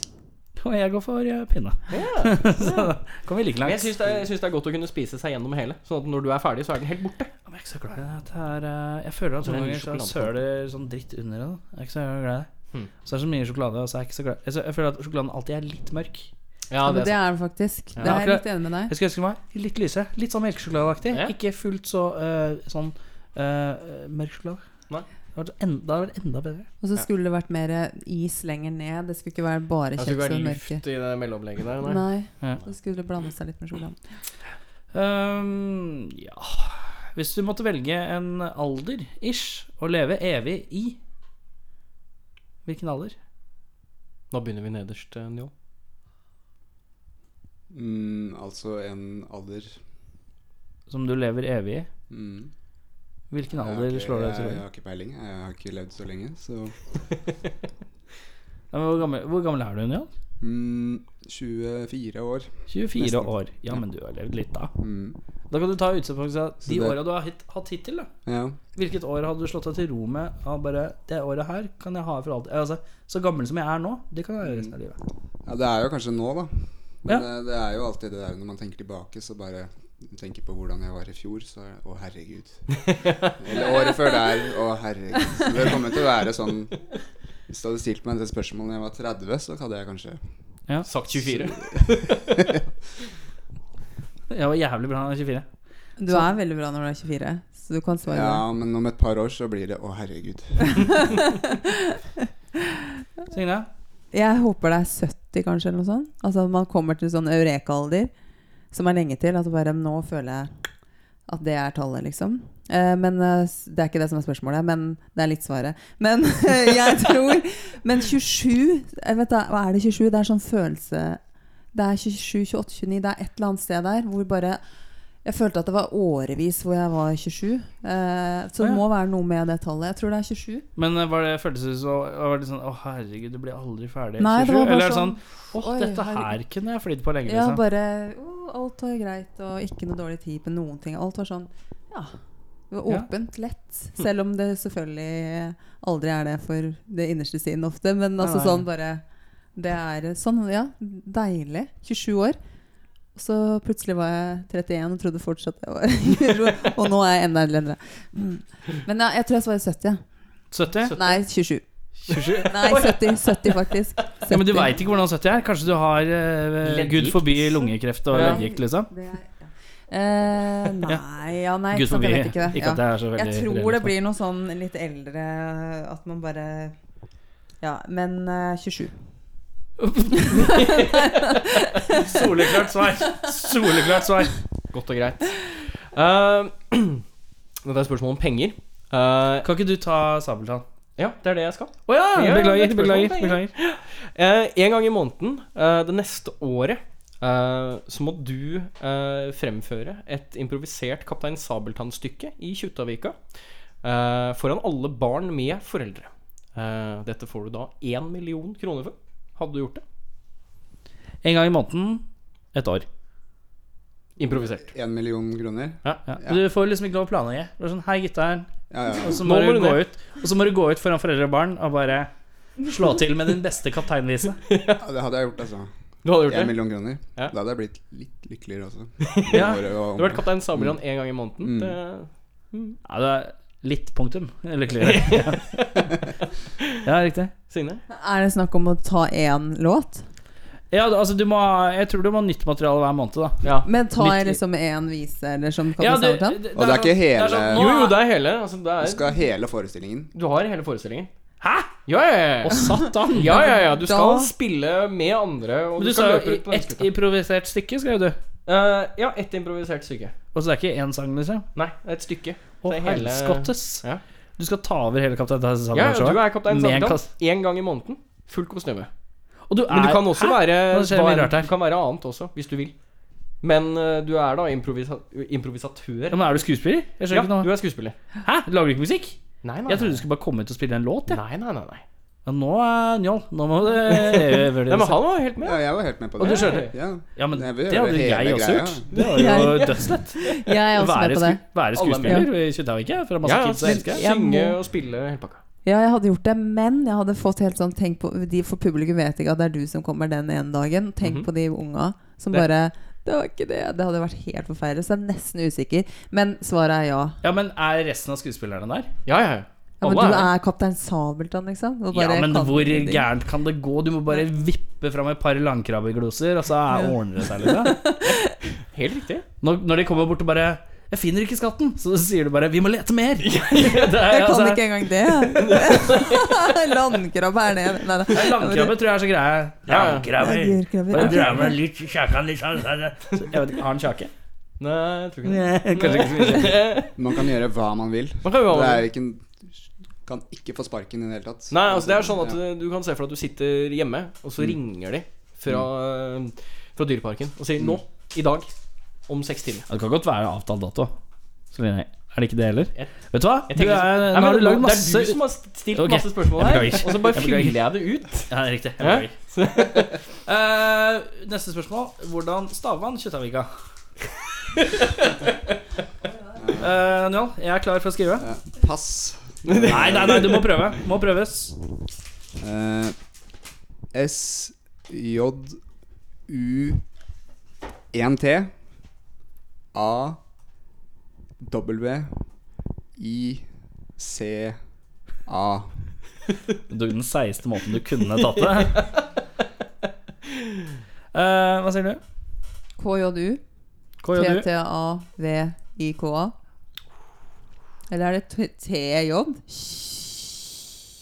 B: Og jeg går for eh, pinne.
C: Ja.
B: Så kommer vi like
C: Men jeg
B: langt.
C: syns det, er- jeg syns det er godt å kunne spise seg gjennom hele. Sånn at når du er ferdig, så er den helt borte.
B: Jeg er ikke så glad i det. det er, eh, jeg føler at
C: Det er
B: noen
C: mye
B: ganger så
C: sjokolade.
B: søler sånn dritt under det. da. Jeg er ikke så glad i det.
C: Hmm.
B: Så er det så mye sjokolade, og så er jeg ikke så glad jeg, jeg føler at sjokoladen alltid er litt mørk.
C: Ja,
D: men det er det faktisk.
C: Ja.
D: Det er jeg litt enig med deg.
B: Jeg skulle ønske meg litt lyse. Litt sånn melkesjokoladeaktig.
C: Ja.
B: Ikke fullt så eh, sånn eh, mørk sjokolade.
C: Nei.
B: Det hadde vært en- det hadde vært enda bedre.
D: Og så skulle det vært mer is lenger ned. Det skulle ikke være bare
C: Jeg
D: kjeks
C: tror ikke
D: og
C: det er
D: mørke.
C: luft i det mellomlegget der. Nei.
D: Nei,
B: Ja.
D: så skulle det blande seg litt med sjokoladen.
B: Ehm, ja Hvis du måtte velge en alder ish å leve evig i Hvilken alder?
C: Nå begynner vi nederst, eh, Njål.
E: Mm, altså en alder
B: Som du lever evig i?
E: mm.
B: Hvilken
E: Jeg har
B: alder
E: ikke-
B: slår deg
E: jeg,
B: til?
E: jeg har ikke peiling. Jeg har ikke levd så lenge, så
B: Ja, men hvor, gammel, hvor gammel er du, Jan?
E: Mm, 24 år.
B: 24
E: Nesten.
B: år. Ja, men du har levd litt, da.
E: Mm.
B: Da kan du ta utgangspunkt i de
E: det-
B: åra du har hit, hatt hittil, da.
E: Ja.
B: Hvilket år hadde du slått deg til ro med? Ja, bare det året her kan jeg ha for alltid. Altså, så gammel som jeg er nå, det kan jeg gjøre resten av livet.
E: ja, det er jo kanskje nå, da. Men
B: Ja.
E: eh, det er jo alltid det der når man tenker tilbake, så bare tenker på hvordan jeg var i fjor, så er det, Å, herregud. Eller året før der. Å, herregud. Så det kommer til å være sånn Hvis du hadde stilt meg dette spørsmålet da jeg var 30, så hadde jeg kanskje
C: Sagt 24.
B: Jeg var jævlig bra da jeg var 24.
D: Du er veldig bra når du er 24, så du kan svare.
E: Ja, men om et par år så blir det Å, herregud.
B: Signe?
D: Jeg håper det er 70, kanskje, eller noe sånt. Altså man kommer til sånn eureka-alder, som er lenge til. At bare nå føler jeg at det er tallet, liksom. Eh, men eh, s- det er ikke det som er spørsmålet, men det er litt svaret. Men jeg tror Men 27 jeg vet da, Hva er det 27? Det er sånn følelse Det er 27, 28, 29 Det er et eller annet sted der hvor bare Jeg følte at det var årevis hvor jeg var 27. Eh,
B: Å, ja.
D: så det må være noe med det tallet. Jeg tror det er 27.
B: Men eh, var det, føltes det som var det sånn Å, herregud, det blir aldri ferdig.
D: Nei, det
B: 27?
D: var bare
B: Eller er det sånn
D: sånn,
B: Å,
D: oi,
B: dette her
D: herregud.
B: kunne jeg flydd på lenge,
D: Ja,
B: liksom.
D: bare «Å, Alt var greit, og ikke noe dårlig tid på noen ting. Alt var sånn Ja. Det var
B: Ja. Hm.
D: åpent, lett. Selv om det selvfølgelig aldri er det for det innerste sinn ofte. Men altså
B: nei.
D: sånn bare Det er sånn, ja. Deilig. 27 år. Og så plutselig var jeg 31 og trodde fortsatt jeg var Og nå er jeg enda eldre. Mm. Men ja, jeg tror jeg svarer 70.
B: 70?
D: Ja. Nei, 27.
B: 27?
D: Nei, 70, 70 faktisk. 70.
B: Ja, men du veit ikke hvordan 70 er. Kanskje du har eh,
C: Leddgikt.
B: gud forby lungekreft og
C: Ja.
B: leddgikt, liksom.
D: Det er, ja. Eh, nei, ja, nei
B: Gud
D: ikke sant,
B: forby.
D: jeg vet ikke det.
B: Ikke at
D: ja.
B: det er så veldig
D: Jeg
B: relevant.
D: tror det blir noe sånn litt eldre At man bare Ja, men eh, 27.
B: Soleklart svar. Soleklart svar.
C: Godt og greit. Uh, dette er spørsmål om penger. Eh,
B: Kan ikke du ta Sabeltann?
C: ja, det er det jeg skal.
B: Å ja!
C: Ja, det er
B: Beklager,
C: et spørsmål om
B: beklager.
C: penger.
B: beklager.
C: Eh, en gang i måneden eh, det neste året eh, så må du eh, fremføre et improvisert Kaptein Sabeltann-stykke i Kjuttaviga eh, foran alle barn med foreldre. Eh, dette får du da én million kroner for. Hadde du gjort det?
B: En gang i måneden, et år.
C: Improvisert.
E: Én million kroner?
C: Ja.
B: Ja. Du får liksom ikke lov å planlegge. Det er sånn, Hei, gutter'n.
E: Ja, ja. altså,
B: Og så
C: Nå
B: må,
C: må
B: du
C: du
B: gå
C: ned.
B: ut Og så må du gå ut foran foreldre og barn og bare slå til med din beste kapteinvise.
E: ja det hadde jeg gjort, altså.
C: Du hadde
E: Én
C: gjort det?
E: million kroner.
C: Ja.
E: Da hadde jeg blitt litt lykkeligere også.
B: Ja.
E: Året
C: Du
E: og-
C: har vært Kaptein Sabeltann én gang i måneden. eh,
E: Mm.
C: Det,
B: Ja, det er litt punktum. Lykkeligere. Ja. ja, riktig.
C: Signe?
D: Er det snakk om å ta én låt?
B: Ja, da- altså du må ha- Jeg tror du må ha nytt materiale hver måned, da.
C: Ja.
D: Men ta
B: Litt-
D: jeg liksom én vise, eller som
B: Ja,
D: Kaptein
B: du-
D: Sabeltann?
E: Og det er ikke
B: sånn-
E: hele
B: det er sånn,
C: Jo,
B: nå-
C: jo, det er hele. Altså, det
E: Du
C: er,
E: skal ha hele forestillingen.
C: du har hele forestillingen.
B: Hæ?
C: Ja, ja, ja, ja.
B: Og satan!
C: Ja, ja, ja. Du skal
D: Da-
C: spille med andre. Og
B: Men
C: du,
B: du
C: skal
B: sa
C: løpe
B: jo
C: rundt på
B: ett
C: mennesker.
B: improvisert stykke, skrev du.
C: Eh, ja, ett improvisert stykke.
B: Og så det er ikke én sang, liksom?
C: Nei, det er et stykke.
B: Å,
C: Det er hele-
B: helskottes!
C: Ja.
B: Du skal ta over hele Kaptein
C: Ja,
B: Sabeltann-showet?
C: ja, du er kaptein
B: Med en
C: Sabeltann.
B: kast-
C: Én gang i måneden. Fullt kostyme.
B: Og du er
C: Men du kan også
B: Hæ?
C: være
B: Nå skjer det mye
C: hva-
B: rart her.
C: Du kan være annet også, hvis du vil. Men eh, du er da improvisa improvisatør.
B: Ja, men er du skuespiller? Jeg skjønner
C: Ja,
B: ikke noe.
C: du er skuespiller.
B: Hæ? Lager du ikke musikk?
C: Nei, nei.
B: Jeg trodde du skulle bare komme ut og spille en låt, jeg.
C: Nei, nei, nei. nei.
B: Ja, nå er Njål. Nå må det øve
C: nei men han var helt med.
E: Ja, jeg var helt med på det.
B: Og du skjønte?
E: Ja.
B: Ja, men
E: Nei, vi
B: det
E: gjør
B: hadde
E: det
B: jo
E: hele
B: jeg også
E: greia.
B: gjort. Det var jo dødslett.
D: Jeg er også
B: Være,
D: med på det.
B: sku være skuespiller i Kjøtthaugike fra masse
C: Ja, ja,
B: kids jeg elsker.
D: jeg
C: synge
D: må-
C: og spille hele pakka.
D: Ja, jeg hadde gjort det, men jeg hadde fått helt sånn Tenk på de For publikum vet ikke at det er du som kommer den ene dagen. Tenk
B: Mhm.
D: på de unga som
C: Det-
D: bare Det var ikke det. Det hadde vært helt forferdelig. Så jeg er nesten usikker. Men svaret er ja.
B: Ja, men er resten av skuespillerne der?
C: Ja, ja, ja.
D: Ja, men
C: Alle
D: du
C: er
D: er Kaptein Sabeltann, liksom. Og
B: Ja,
D: bare
B: men
D: kan
B: hvor
D: ingenting.
B: gærent kan det gå? Du må bare vippe fram et par langkrabbegloser, og så er- ordner det seg liksom. litt.
C: Helt riktig.
B: Når, når de kommer bort og bare 'Jeg finner ikke skatten', så sier du bare 'Vi må lete mer'. Det er,
D: Jeg kan
B: altså,
D: ikke engang det. Landkrabbe er det. Nei, nei.
B: Langkrabbe tror jeg er så greie.
C: Ja, ja.
B: Langkrabbe.
D: Landkrabbe.
B: Bare
D: Ok.
B: dra med litt kjakan litt sånn. sånn, sånn. Så, Jeg vet ikke, Har han kjake?
C: Nei, jeg tror ikke det.
B: Kanskje ikke så mye.
E: Man kan gjøre hva man vil.
C: Man kan jo
E: Det
C: ha
E: er ikke en, kan ikke få sparken i det hele tatt.
C: Nei, altså det er sånn at
E: Ja.
C: eh, du kan se for deg at du sitter hjemme, og
E: Mm.
C: så ringer de fra, eh, fra
E: Mm.
C: Dyreparken og sier 'nå, i dag, om seks timer'.
B: Ja, Det kan godt være avtalt dato. Så vi- Er det ikke det heller?
C: Jeg-
B: Vet du hva?
C: Jeg
B: Du
C: tenker- liksom,
B: er,
C: Nei,
B: nå
C: men
B: har du
C: nå-
B: lagd masse
C: Det er du som har stilt
B: Ok.
C: masse spørsmål
B: Jeg
C: her,
B: beklager.
C: og så bare
B: Jeg
C: fyller
B: beklager.
C: jeg det ut.
B: Ja, det er riktig. Jeg
C: Ja.
B: beklager. Eh, neste spørsmål. Hvordan staver man Kjøttaviga? Eh, Njål, jeg er klar for å skrive.
E: Eh, pass.
B: Nei, nei, nei, du må prøve. Må prøves.
E: Eh, S, J, U, 1 T, A, W, I, C, A.
B: Du den seigeste måten du kunne tatt det. Eh, hva sier du?
D: KJU.
B: Hva gjør du?
D: T-T-A-V-I-K-A. Eller er det t- TJ?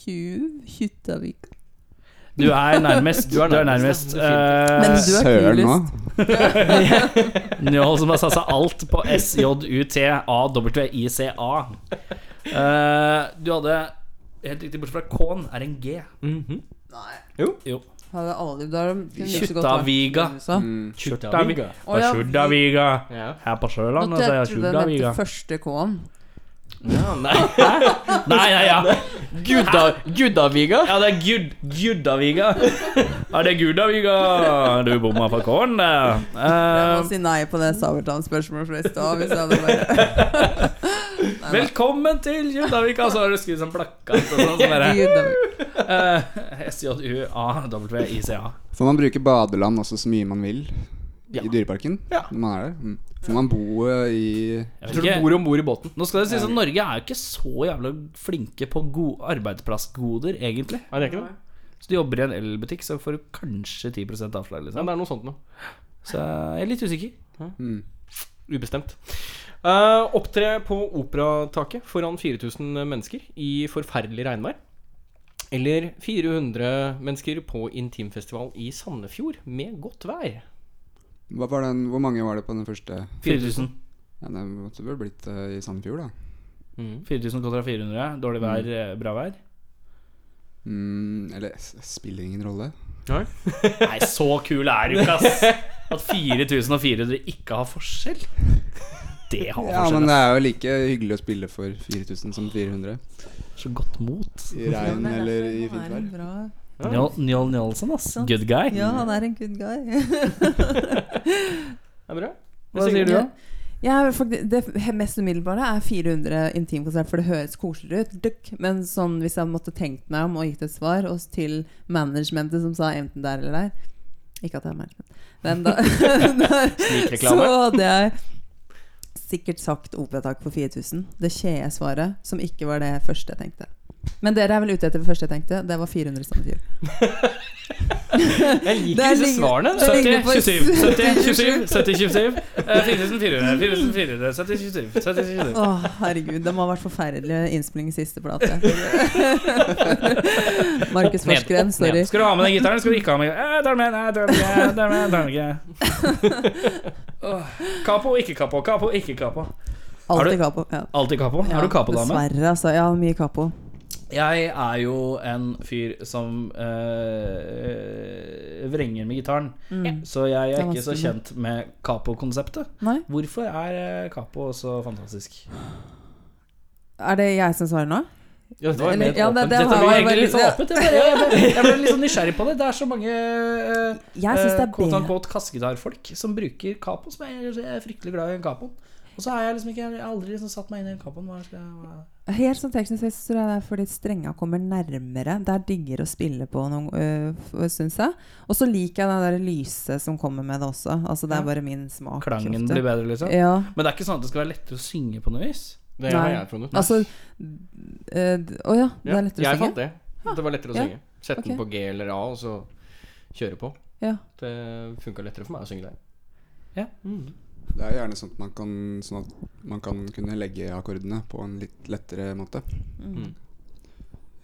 D: Tjuv Kjuttaviga.
B: Du er nærmest. Du er nærmest.
C: nærmest, ja.
D: Men
B: Eh,
D: du er
E: Søren
D: kulest.
E: nå.
B: Njål som har satsa alt på S-J-U-T-A-W-I-C-A. Eh, du hadde helt riktig bortsett fra K-en er en G.
C: Mhm.
D: Nei.
C: Jo.
B: Jo.
D: Hadde alle da har de kunne like så godt vært
B: Kjuttaviga.
D: i USA.
E: Mm.
B: Kjuttaviga.
D: Å, ja,
B: Kjuttaviga.
C: Ja.
B: Her på
D: Nå
B: Sørlandet sier jeg
D: trodde jeg de mente
B: Kjuttaviga.
D: første K-en.
C: ja, nei
B: Nei, ja, ja.
C: Gudda, Guddaviga?
B: Ja, det er Gud, Guddaviga. Ja, det er Guddaviga. Du bomma på K-en, det.
D: Jeg
B: Eh,
D: må si nei på det Sabeltann-spørsmålet fra i stad. Hvis jeg hadde bare
B: velkommen til Kjuttaviga. Så har du skrevet sånn plakat og sånn. som bare,
D: Kjuttaviga.
B: eh, S-J-U-A-W-I-C-A.
E: Får man bruke badeland også så mye man vil
C: Ja.
E: i Dyreparken?
C: Ja.
E: Når man er der? Mm. Får man bo eh, i
B: Jeg
C: Jeg
B: vet
C: tror du
B: ikke.
C: bor om bord i båten.
B: Nå skal det sies at Norge er jo ikke så jævla flinke på gode arbeidsplassgoder, egentlig.
C: Nei, det er ikke det.
B: Så du jobber i en elbutikk, så får du kanskje 10 avslag,
C: Men
B: liksom.
C: det er noe sånt noe.
B: Så jeg er litt usikker.
E: mm.
C: Ubestemt. Eh, opptre på operataket foran 4000 mennesker i forferdelig regnvær. Eller 400 mennesker på intimfestival i Sandefjord med godt vær.
E: Hva var den, Hvor mange var det på den første?
B: 4000.
E: Ja, det måtte vel blitt eh, i Sandefjord, da.
C: Mm.
B: 4000 kontra 400. Dårlig vær, eh, bra vær.
E: Mm, eller s- spiller ingen rolle.
B: Nei, så kul er du ikke, ass! At 4000 og 400 ikke har forskjell. Det har
E: Ja,
B: forskjell.
E: men det
B: ass.
E: er jo like hyggelig å spille for 4000 som 400.
B: Så godt mot.
E: I regn eller i fint vær.
D: vær.
B: Njål Njål Njålsen, ass. Good guy.
D: Ja, han er en good guy.
C: Det er bra.
B: Hva sier du, da?
D: Ja, men faktisk, det mest umiddelbare er 400 intimkonsert, for det høres koseligere ut. Dukk. Men sånn, hvis jeg måtte tenkt meg om og gitt et svar, og til managementet som sa enten der eller der Ikke at jeg er management, men da, der, så
C: Snikreklame.
D: hadde jeg sikkert sagt operatak for 4000. Det kjede svaret, som ikke var det første jeg tenkte. Men dere er vel ute etter det første jeg tenkte? Det var 400 samtidig.
C: Jeg
D: Det
C: liker
D: er
C: disse
D: lign-
C: svarene.
D: det
B: 70,
D: ligner på-
B: 27, 70, 27, 70, 27 eh, 4400, 4400, 70, 27, 70, 27
D: Å, herregud. Det må ha vært forferdelig innspilling i siste plate. Markus
C: Opp ned, opp
D: Forskeren,
C: ned.
D: sorry.
B: Skal du ha med den gitaren? Skal du ikke ha med eh, Der med, nei, der med, der med, der med. Åh, Capo, ikke capo, capo, ikke capo. Har du-
D: Alltid capo. Ja.
B: Alltid capo. Er du capo-dame?
D: Dessverre, altså. Ja, mye capo.
B: Jeg er jo en fyr som eh, vrenger med gitaren. Så jeg er
D: Mm. Det er
B: ikke så
D: vanskelig.
B: kjent med capo-konseptet.
D: Nei.
B: Hvorfor er eh, capo så fantastisk?
D: Er det jeg som svarer nå?
C: Ja, det var
D: Eller-
C: mer
D: ja, det-
C: åpent.
D: det
C: Dette
D: var-
B: Det
C: var
B: var
C: egentlig
B: egentlig litt sånn
D: Ja.
B: åpent. Jeg ble, jeg ble, jeg ble litt sånn nysgjerrig på det. Det er så mange eh,
D: Jeg syns det
B: eh,
D: er
B: quote
D: bedre.
B: unquote kassegitarfolk som bruker capo. Som jeg, jeg er fryktelig glad i capoen. Og så har jeg liksom ikke jeg har aldri liksom satt meg inn i capoen. Hva skal jeg hva?
D: Helt sånn teknisk sett så tror jeg det er fordi strenga kommer nærmere. Det er diggere å spille på, noen, øh, f- syns jeg. Og så liker jeg det der lyset som kommer med det også. Altså Det
B: Ja.
D: er bare min smak.
B: Klangen
D: ofte.
B: blir bedre, liksom.
D: Ja.
B: Men det er ikke sånn at det skal være lettere å synge på noe vis.
C: Det har
D: Nei.
C: jeg funnet.
D: Altså øh, d- Å ja, det
C: Ja,
D: er lettere
C: jeg
D: å synge?
C: fant det. At Det var lettere å
D: Ja.
C: synge. Sette den
D: Ok.
C: på G eller A, og så kjøre på.
D: Ja.
C: Det funka lettere for meg å synge der.
B: Ja.
C: Mm.
E: Det er gjerne sånn at man kan, sånn at man kan kunne legge akkordene på en litt lettere måte
D: Mm.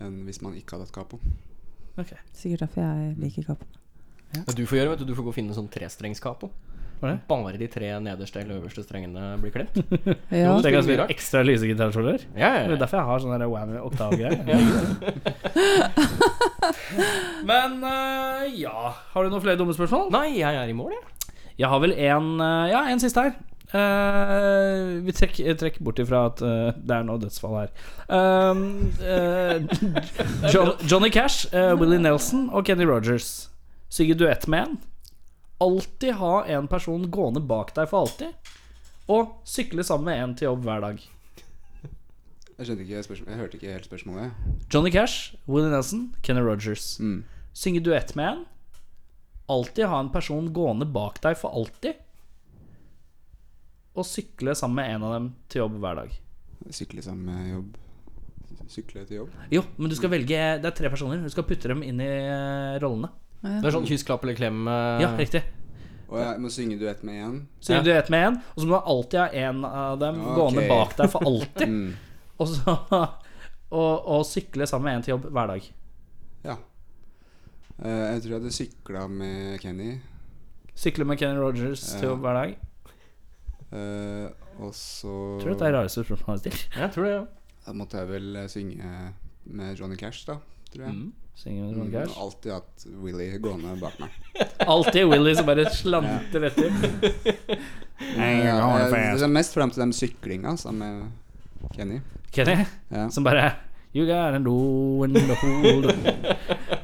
E: enn hvis man ikke hadde hatt capo.
D: Sikkert derfor jeg liker capo.
C: Det du får gjøre, vet du, du får gå og finne en sånn trestrengskapo.
B: Hva er det?
C: Bare de tre nederste eller øverste strengene blir klemt.
D: Ja.
C: Jo, det-
B: Tenk at vi
C: Mye rart.
B: har ekstra lyse gitarsoler.
C: Ja,
B: Det er
C: ja, ja.
B: derfor jeg har sånn sånne whammy-oktavgreier. Men eh, ja Har du noen flere dumme spørsmål?
C: Nei, jeg er i mål, jeg.
B: Jeg har vel en eh, Ja, en siste her. Eh, vi trekk- eh, trekker bort ifra at eh, det er noe dødsfall her. Um, eh, John, Johnny Cash, eh, Willie Nelson og Kenny Rogers. Synge duett med en. Alltid ha en person gående bak deg for alltid. Og sykle sammen med en til jobb hver dag.
E: Jeg skjønte ikke spørsmålet. Jeg hørte ikke helt spørsmålet.
B: Johnny Cash, Willie Nelson, Kenny Rogers.
E: Mm.
B: Synge duett med en. Alltid ha en person gående bak deg for alltid. Og sykle sammen med en av dem til jobb hver dag.
E: Sykle sammen med jobb. Sykle til jobb.
B: Jo, men du skal velge Det er tre personer. Du skal putte dem inn i eh, rollene.
C: Det er sånn kyss, klapp eller klem. eh,
B: Ja, riktig.
E: Og jeg må synge duett med én.
B: Så
C: Ja.
B: gjør du ett med én, og så må du alltid ha en av dem
E: Ok.
B: gående bak deg for alltid.
E: Mm.
B: Og så og, og sykle sammen med en til jobb hver dag.
E: Ja. Eh, jeg tror jeg hadde sykla med Kenny.
B: Sykle med Kenny Rogers til
E: Ja.
B: jobb hver dag.
E: eh, og så
B: Tror du dette er rareste spørsmålet jeg har stilt?
C: Jeg tror det, ja.
E: Da måtte jeg vel eh, synge med Johnny Cash, da. Tror jeg.
B: Mm. Synger med Johnny Cash.
E: Alltid hatt Willy gående bak meg.
B: Alltid Willy som bare slanter etter.
E: Men, ja, jeg, Eh, det er mest fram til den syklinga sammen med Kenny.
B: Kenny
E: Ja.
B: som bare You got a no one to hold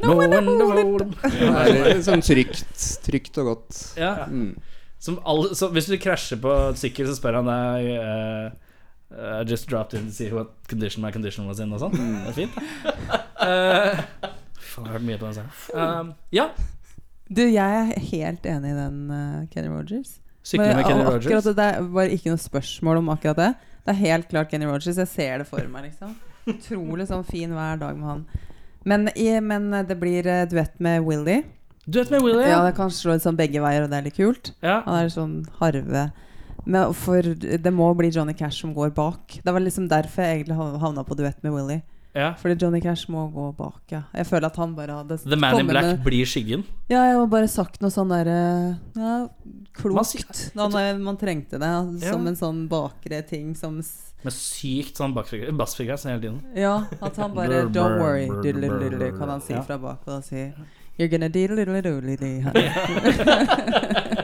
B: No one to hold
E: Det er litt sånn trygt, trygt og godt.
B: Ja,
E: Mm.
B: som alle, så hvis du krasjer på et sykkel, så spør han deg eh, I just dropped in to see what condition my condition was in, og sånn. Det er fint. Eh, faen, jeg har hørt mye på den sangen. Um, ja.
D: Du, jeg er helt enig i den, eh, Kenny Rogers.
B: Sykle
D: Men
B: med Kenny
D: ak-
B: Rogers.
D: Akkurat det, det er- var ikke noe spørsmål om akkurat det. Det er helt klart Kenny Rogers. Jeg ser det for meg, liksom. Utrolig sånn fin hver dag med han. Men, i, men det blir eh, duett med Willy.
B: Duett med Willy.
D: Ja,
B: Ja.
D: det kan slå litt sånn begge veier, og det er litt kult. Han er sånn harve Men for det må bli Johnny Cash som går bak. Det var liksom derfor jeg egentlig hav- havna på duett med Willy.
B: ja.
D: Fordi Johnny Cash må gå bak, ja. Jeg føler at han bare hadde
B: The Man in
D: kommet
B: Black
D: med-
B: blir skyggen.
D: Ja, jeg har bare sagt noe sånn derre
B: Man
D: ja, Klokt.
B: sier-
D: Da man, man trengte det. ja,
B: Ja.
D: Som en sånn bakre ting som s-
B: Med sykt sånn bassfigur- bassfigur hele tiden.
D: Ja, at han bare
B: Brr,
D: Don't
B: brr,
D: worry,
B: brr,
D: diddle,
B: brr,
D: diddle,
B: brr.
D: kan han si
B: Ja.
D: fra bak. Og da si You're gonna diddle, diddle, diddle, diddle.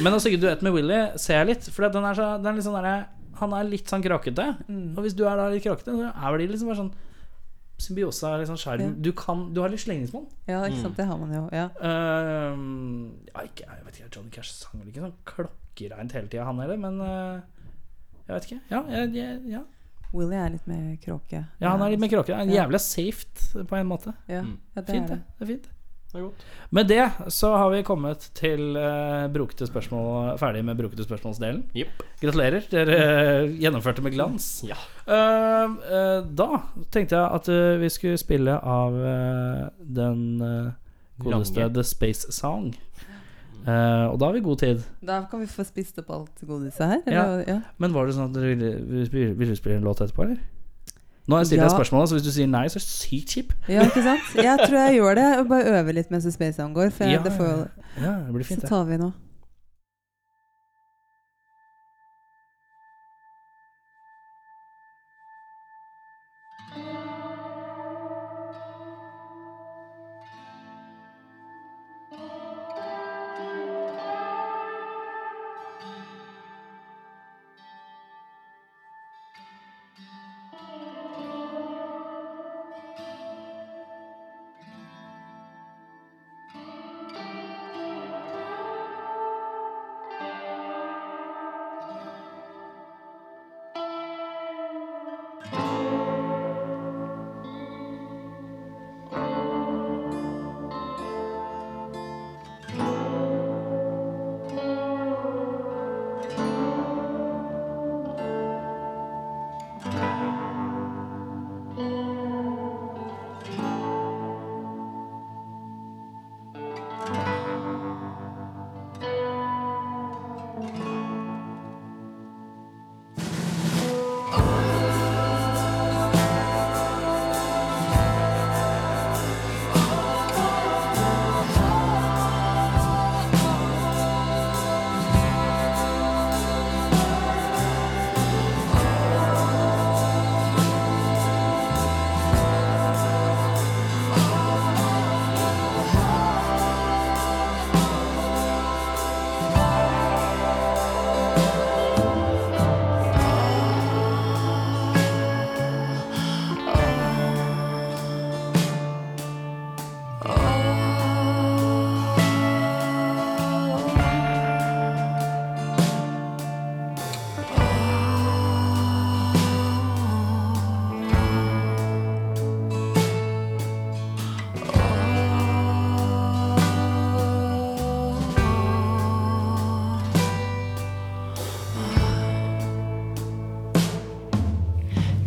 B: Men å synge duett med Willy ser jeg litt, for den er så, den er litt sånn derre- han er litt sånn krakete.
D: Mm.
B: Og hvis du er da litt krakete, så er det liksom bare sånn symbiose av liksom skjerm.
D: Ja.
B: Du, kan, du har litt slengningsmonn.
D: Ja,
B: Mm.
D: ikke sant. Det har man jo. Ja.
B: Ehm, ja, ikke, jeg vet ikke, Johnny Cash sang vel ikke sånn klokkereint hele tida, han heller, men eh, jeg vet ikke. Ja, jeg, jeg, ja.
D: Willy er litt mer kråke.
B: ja han er litt mer kråkete. Han er
D: Ja.
B: Jævla safe på en måte.
D: Ja,
C: Mm.
D: ja det
B: Fint, det.
D: er det.
B: det er fint.
C: Det er godt.
B: Med det så har vi kommet til eh, brokete spørsmål ferdig med brokete spørsmålsdelen.
C: Jepp.
B: Gratulerer, dere eh, gjennomførte med glans.
C: Ja.
B: Eh, eh, da tenkte jeg at eh, vi skulle spille av eh, den eh, godeste
C: Lange.
B: The Space Song. Eh, og da har vi god tid.
D: Da kan vi få spist opp alt godiset her. Eller?
B: Ja.
D: Ja.
B: Men var det sånn at dere ville, ville spille- ville spille en låt etterpå, eller? Nå har jeg stilt
D: Ja.
B: deg spørsmålet, så hvis du sier nei, så er det sykt kjip.
D: Ja. ikke sant? Jeg tror jeg gjør det. Jeg bare øver litt mens Space Sound går. For
B: Ja,
D: jeg, det får, jo-
B: Ja, det blir fint,
D: så
B: det.
D: tar vi nå.
F: Thank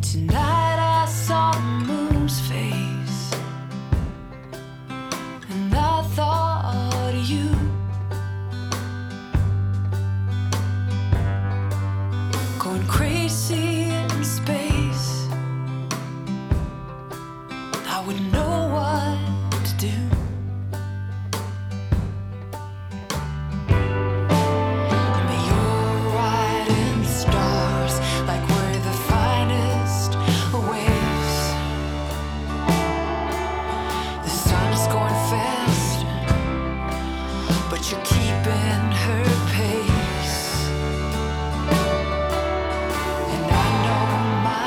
G: Tonight I saw the moon's face, and I thought of you. Going crazy in space, I wouldn't know what to do. But you're riding the stars like we're the finest waves. The sun's going fast, but you're keeping her pace. And I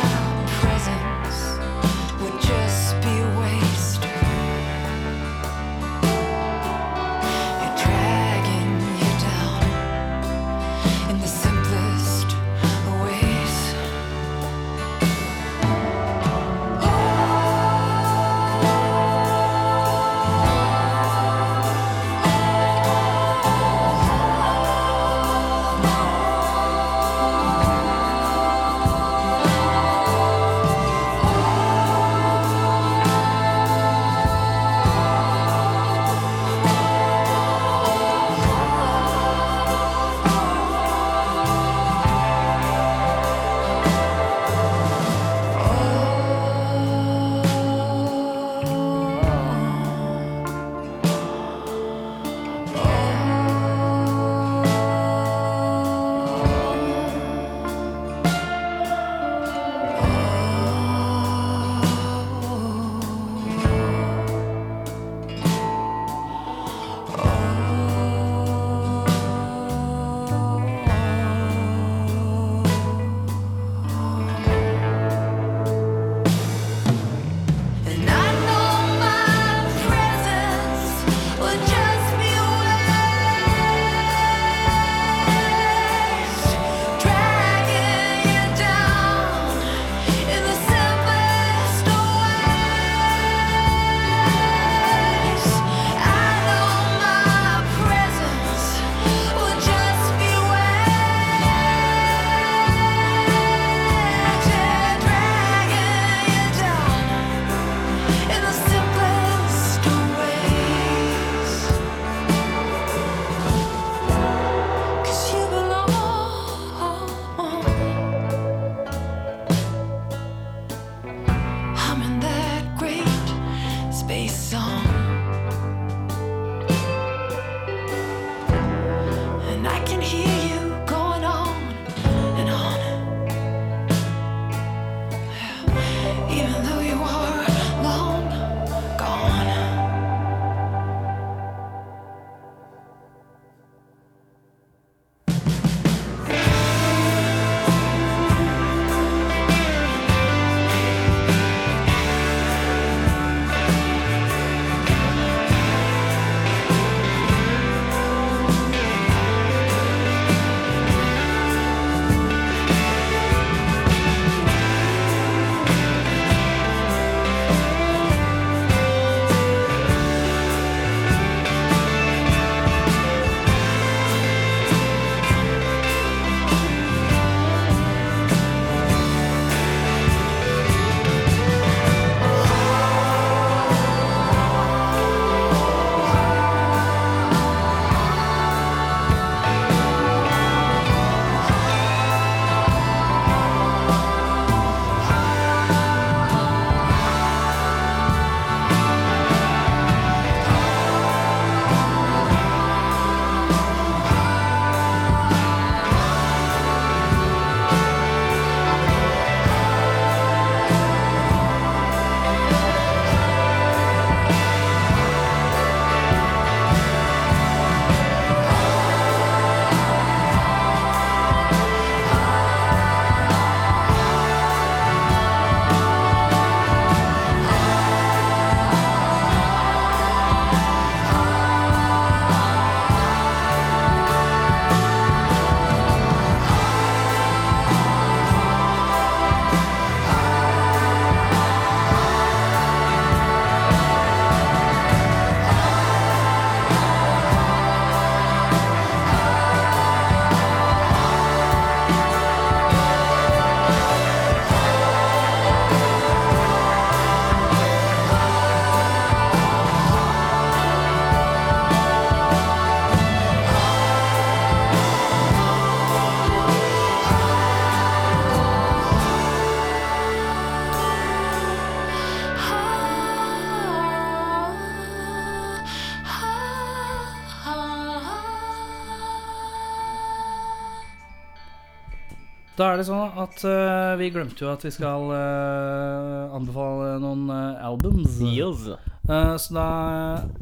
B: Da er det sånn at eh, vi glemte jo at vi skal eh, anbefale noen eh, albums. Eh, så da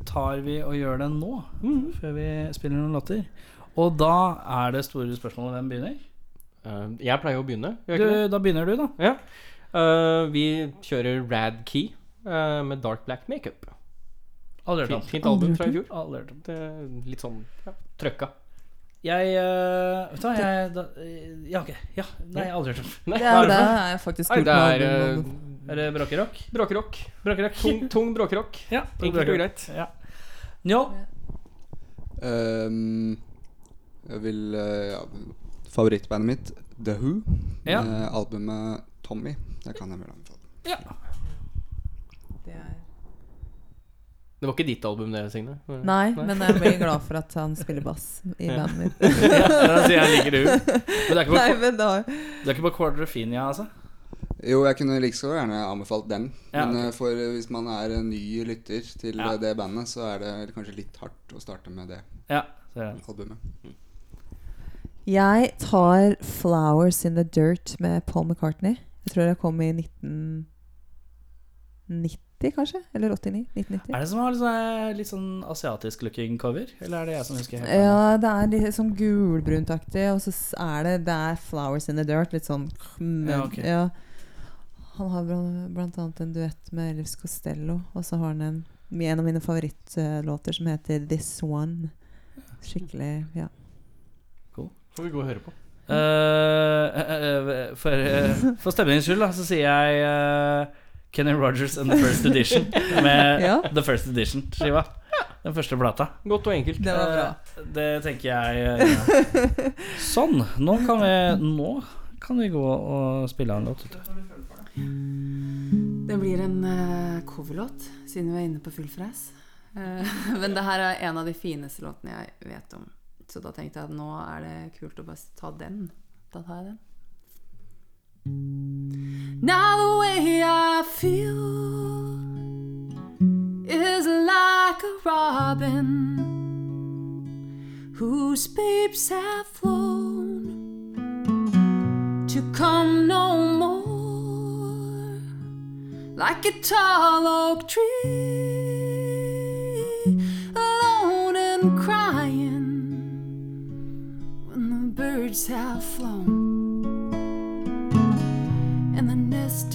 B: tar vi og gjør det nå, før vi spiller noen låter. Og da er det store spørsmålet hvem begynner.
C: Eh, jeg pleier å begynne. Gjør jeg
B: Du,
C: ikke det?
B: da begynner du, da.
C: Ja. Eh, vi kjører Rad Key eh, med Dark Black Makeup.
B: Aldri hørt
C: Fint,
B: om.
C: fint album fra i fjor.
B: Aldri hørt om.
C: Det er litt sånn ja, trøkka.
B: Jeg eh, Vet du hva, jeg da, eh, Ja, ok. Ja, nei, aldri hørt om.
C: Nei,
D: Det er,
C: hva
D: det
C: er det
D: er faktisk
C: for noe? Nei,
D: kult
C: det
D: med
C: er
D: album.
C: eh,
B: Er det bråkerock?
C: bråkerock.
B: Bråkerock.
C: Tung, tung bråkerock.
B: Ja,
C: Enkelt og greit.
B: Ja. Njål.
E: Ehm, jeg vil eh, ja, Favorittbandet mitt, The Who.
B: Ja.
E: Med albumet Tommy. Det kan jeg vel anbefale.
D: Det er-
C: Det var ikke ditt album, det, Signe?
D: Nei, men jeg blir glad for at han spiller bass i
C: Ja.
D: bandet mitt.
B: Ja, da sier jeg liker du. Men det er ikke
D: Nei,
B: på,
D: men da
B: det er ikke på Quadrophenia, altså?
E: Jo, jeg kunne like så gjerne anbefalt den.
B: Ja,
E: men eh, for eh, hvis man er en ny lytter til
B: Ja.
E: eh, det bandet, så er det kanskje litt hardt å starte med det
B: Ja. Så er det.
E: albumet.
D: Jeg tar 'Flowers In The Dirt' med Paul McCartney. Jeg tror jeg kom i 1990, kanskje? Eller 89? 1990?
B: Er det som har litt sånn, litt sånn asiatisk-looking cover? Eller er det jeg som husker helt? feil?
D: Ja, det er litt sånn gulbruntaktig, og så s- er det Det er 'Flowers In The Dirt'. Litt sånn
B: Ja, ok.
D: ja. Han har bl- blant annet en duett med Elvis Costello, og så har han en, en av mine favorittlåter som heter 'This One'. Skikkelig Ja.
C: Får vi gå og høre på.
B: Eh, eh, eh, for, eh, for stemningens skyld da, så sier jeg eh, Kenny Rogers and The First Edition med
D: Ja.
B: The First Edition-skiva. Den første plata.
C: Godt og enkelt.
D: Det var bra.
B: Eh, det tenker jeg eh, Sånn. Nå kan vi Nå kan vi gå og spille en låt. vet du.
G: Det blir en eh, coverlåt, siden vi er inne på full fres. Eh, men det her er en av de fineste låtene jeg vet om. Så da tenkte jeg at nå er det kult å bare ta den. Da tar jeg den. Now the way I feel is like a robin whose babes have flown to come no more like a tall oak tree, alone and crying when the birds have flown and the nest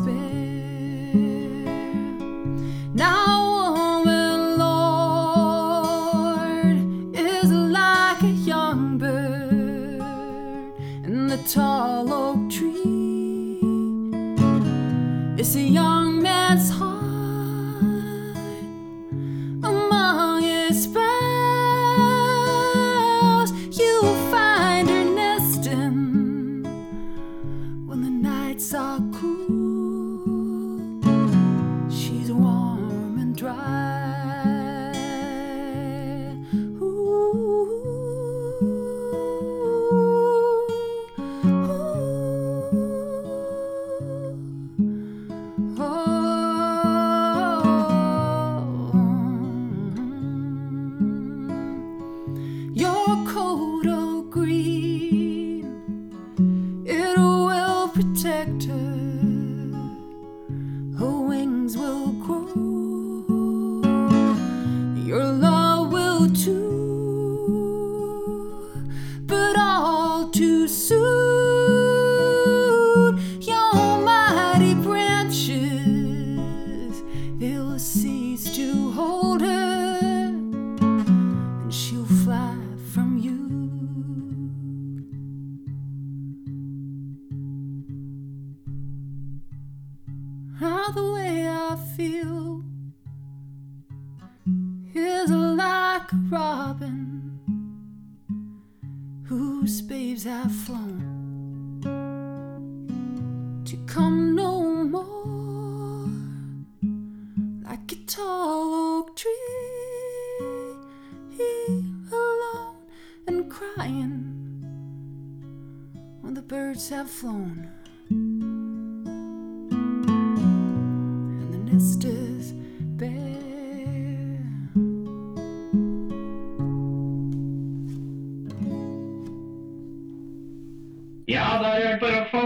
G: bare. Now, woman, Lord, is like a young bird in the tall oak tree. It's a young man's heart among its boughs. You'll find her nesting when the nights are cool. She's warm and dry. Ooh. Ooh. Oh. Your coat of green, it will protect her. Her wings will grow. Your love will too, but all too soon, your mighty branches they'll cease to hold her, and she'll fly from you. How the way I feel is like a robin whose babes have flown to come no more, like a tall oak tree, alone and crying when the birds have flown. and the nest is bare.
H: Ja, Ja, da er det bare å få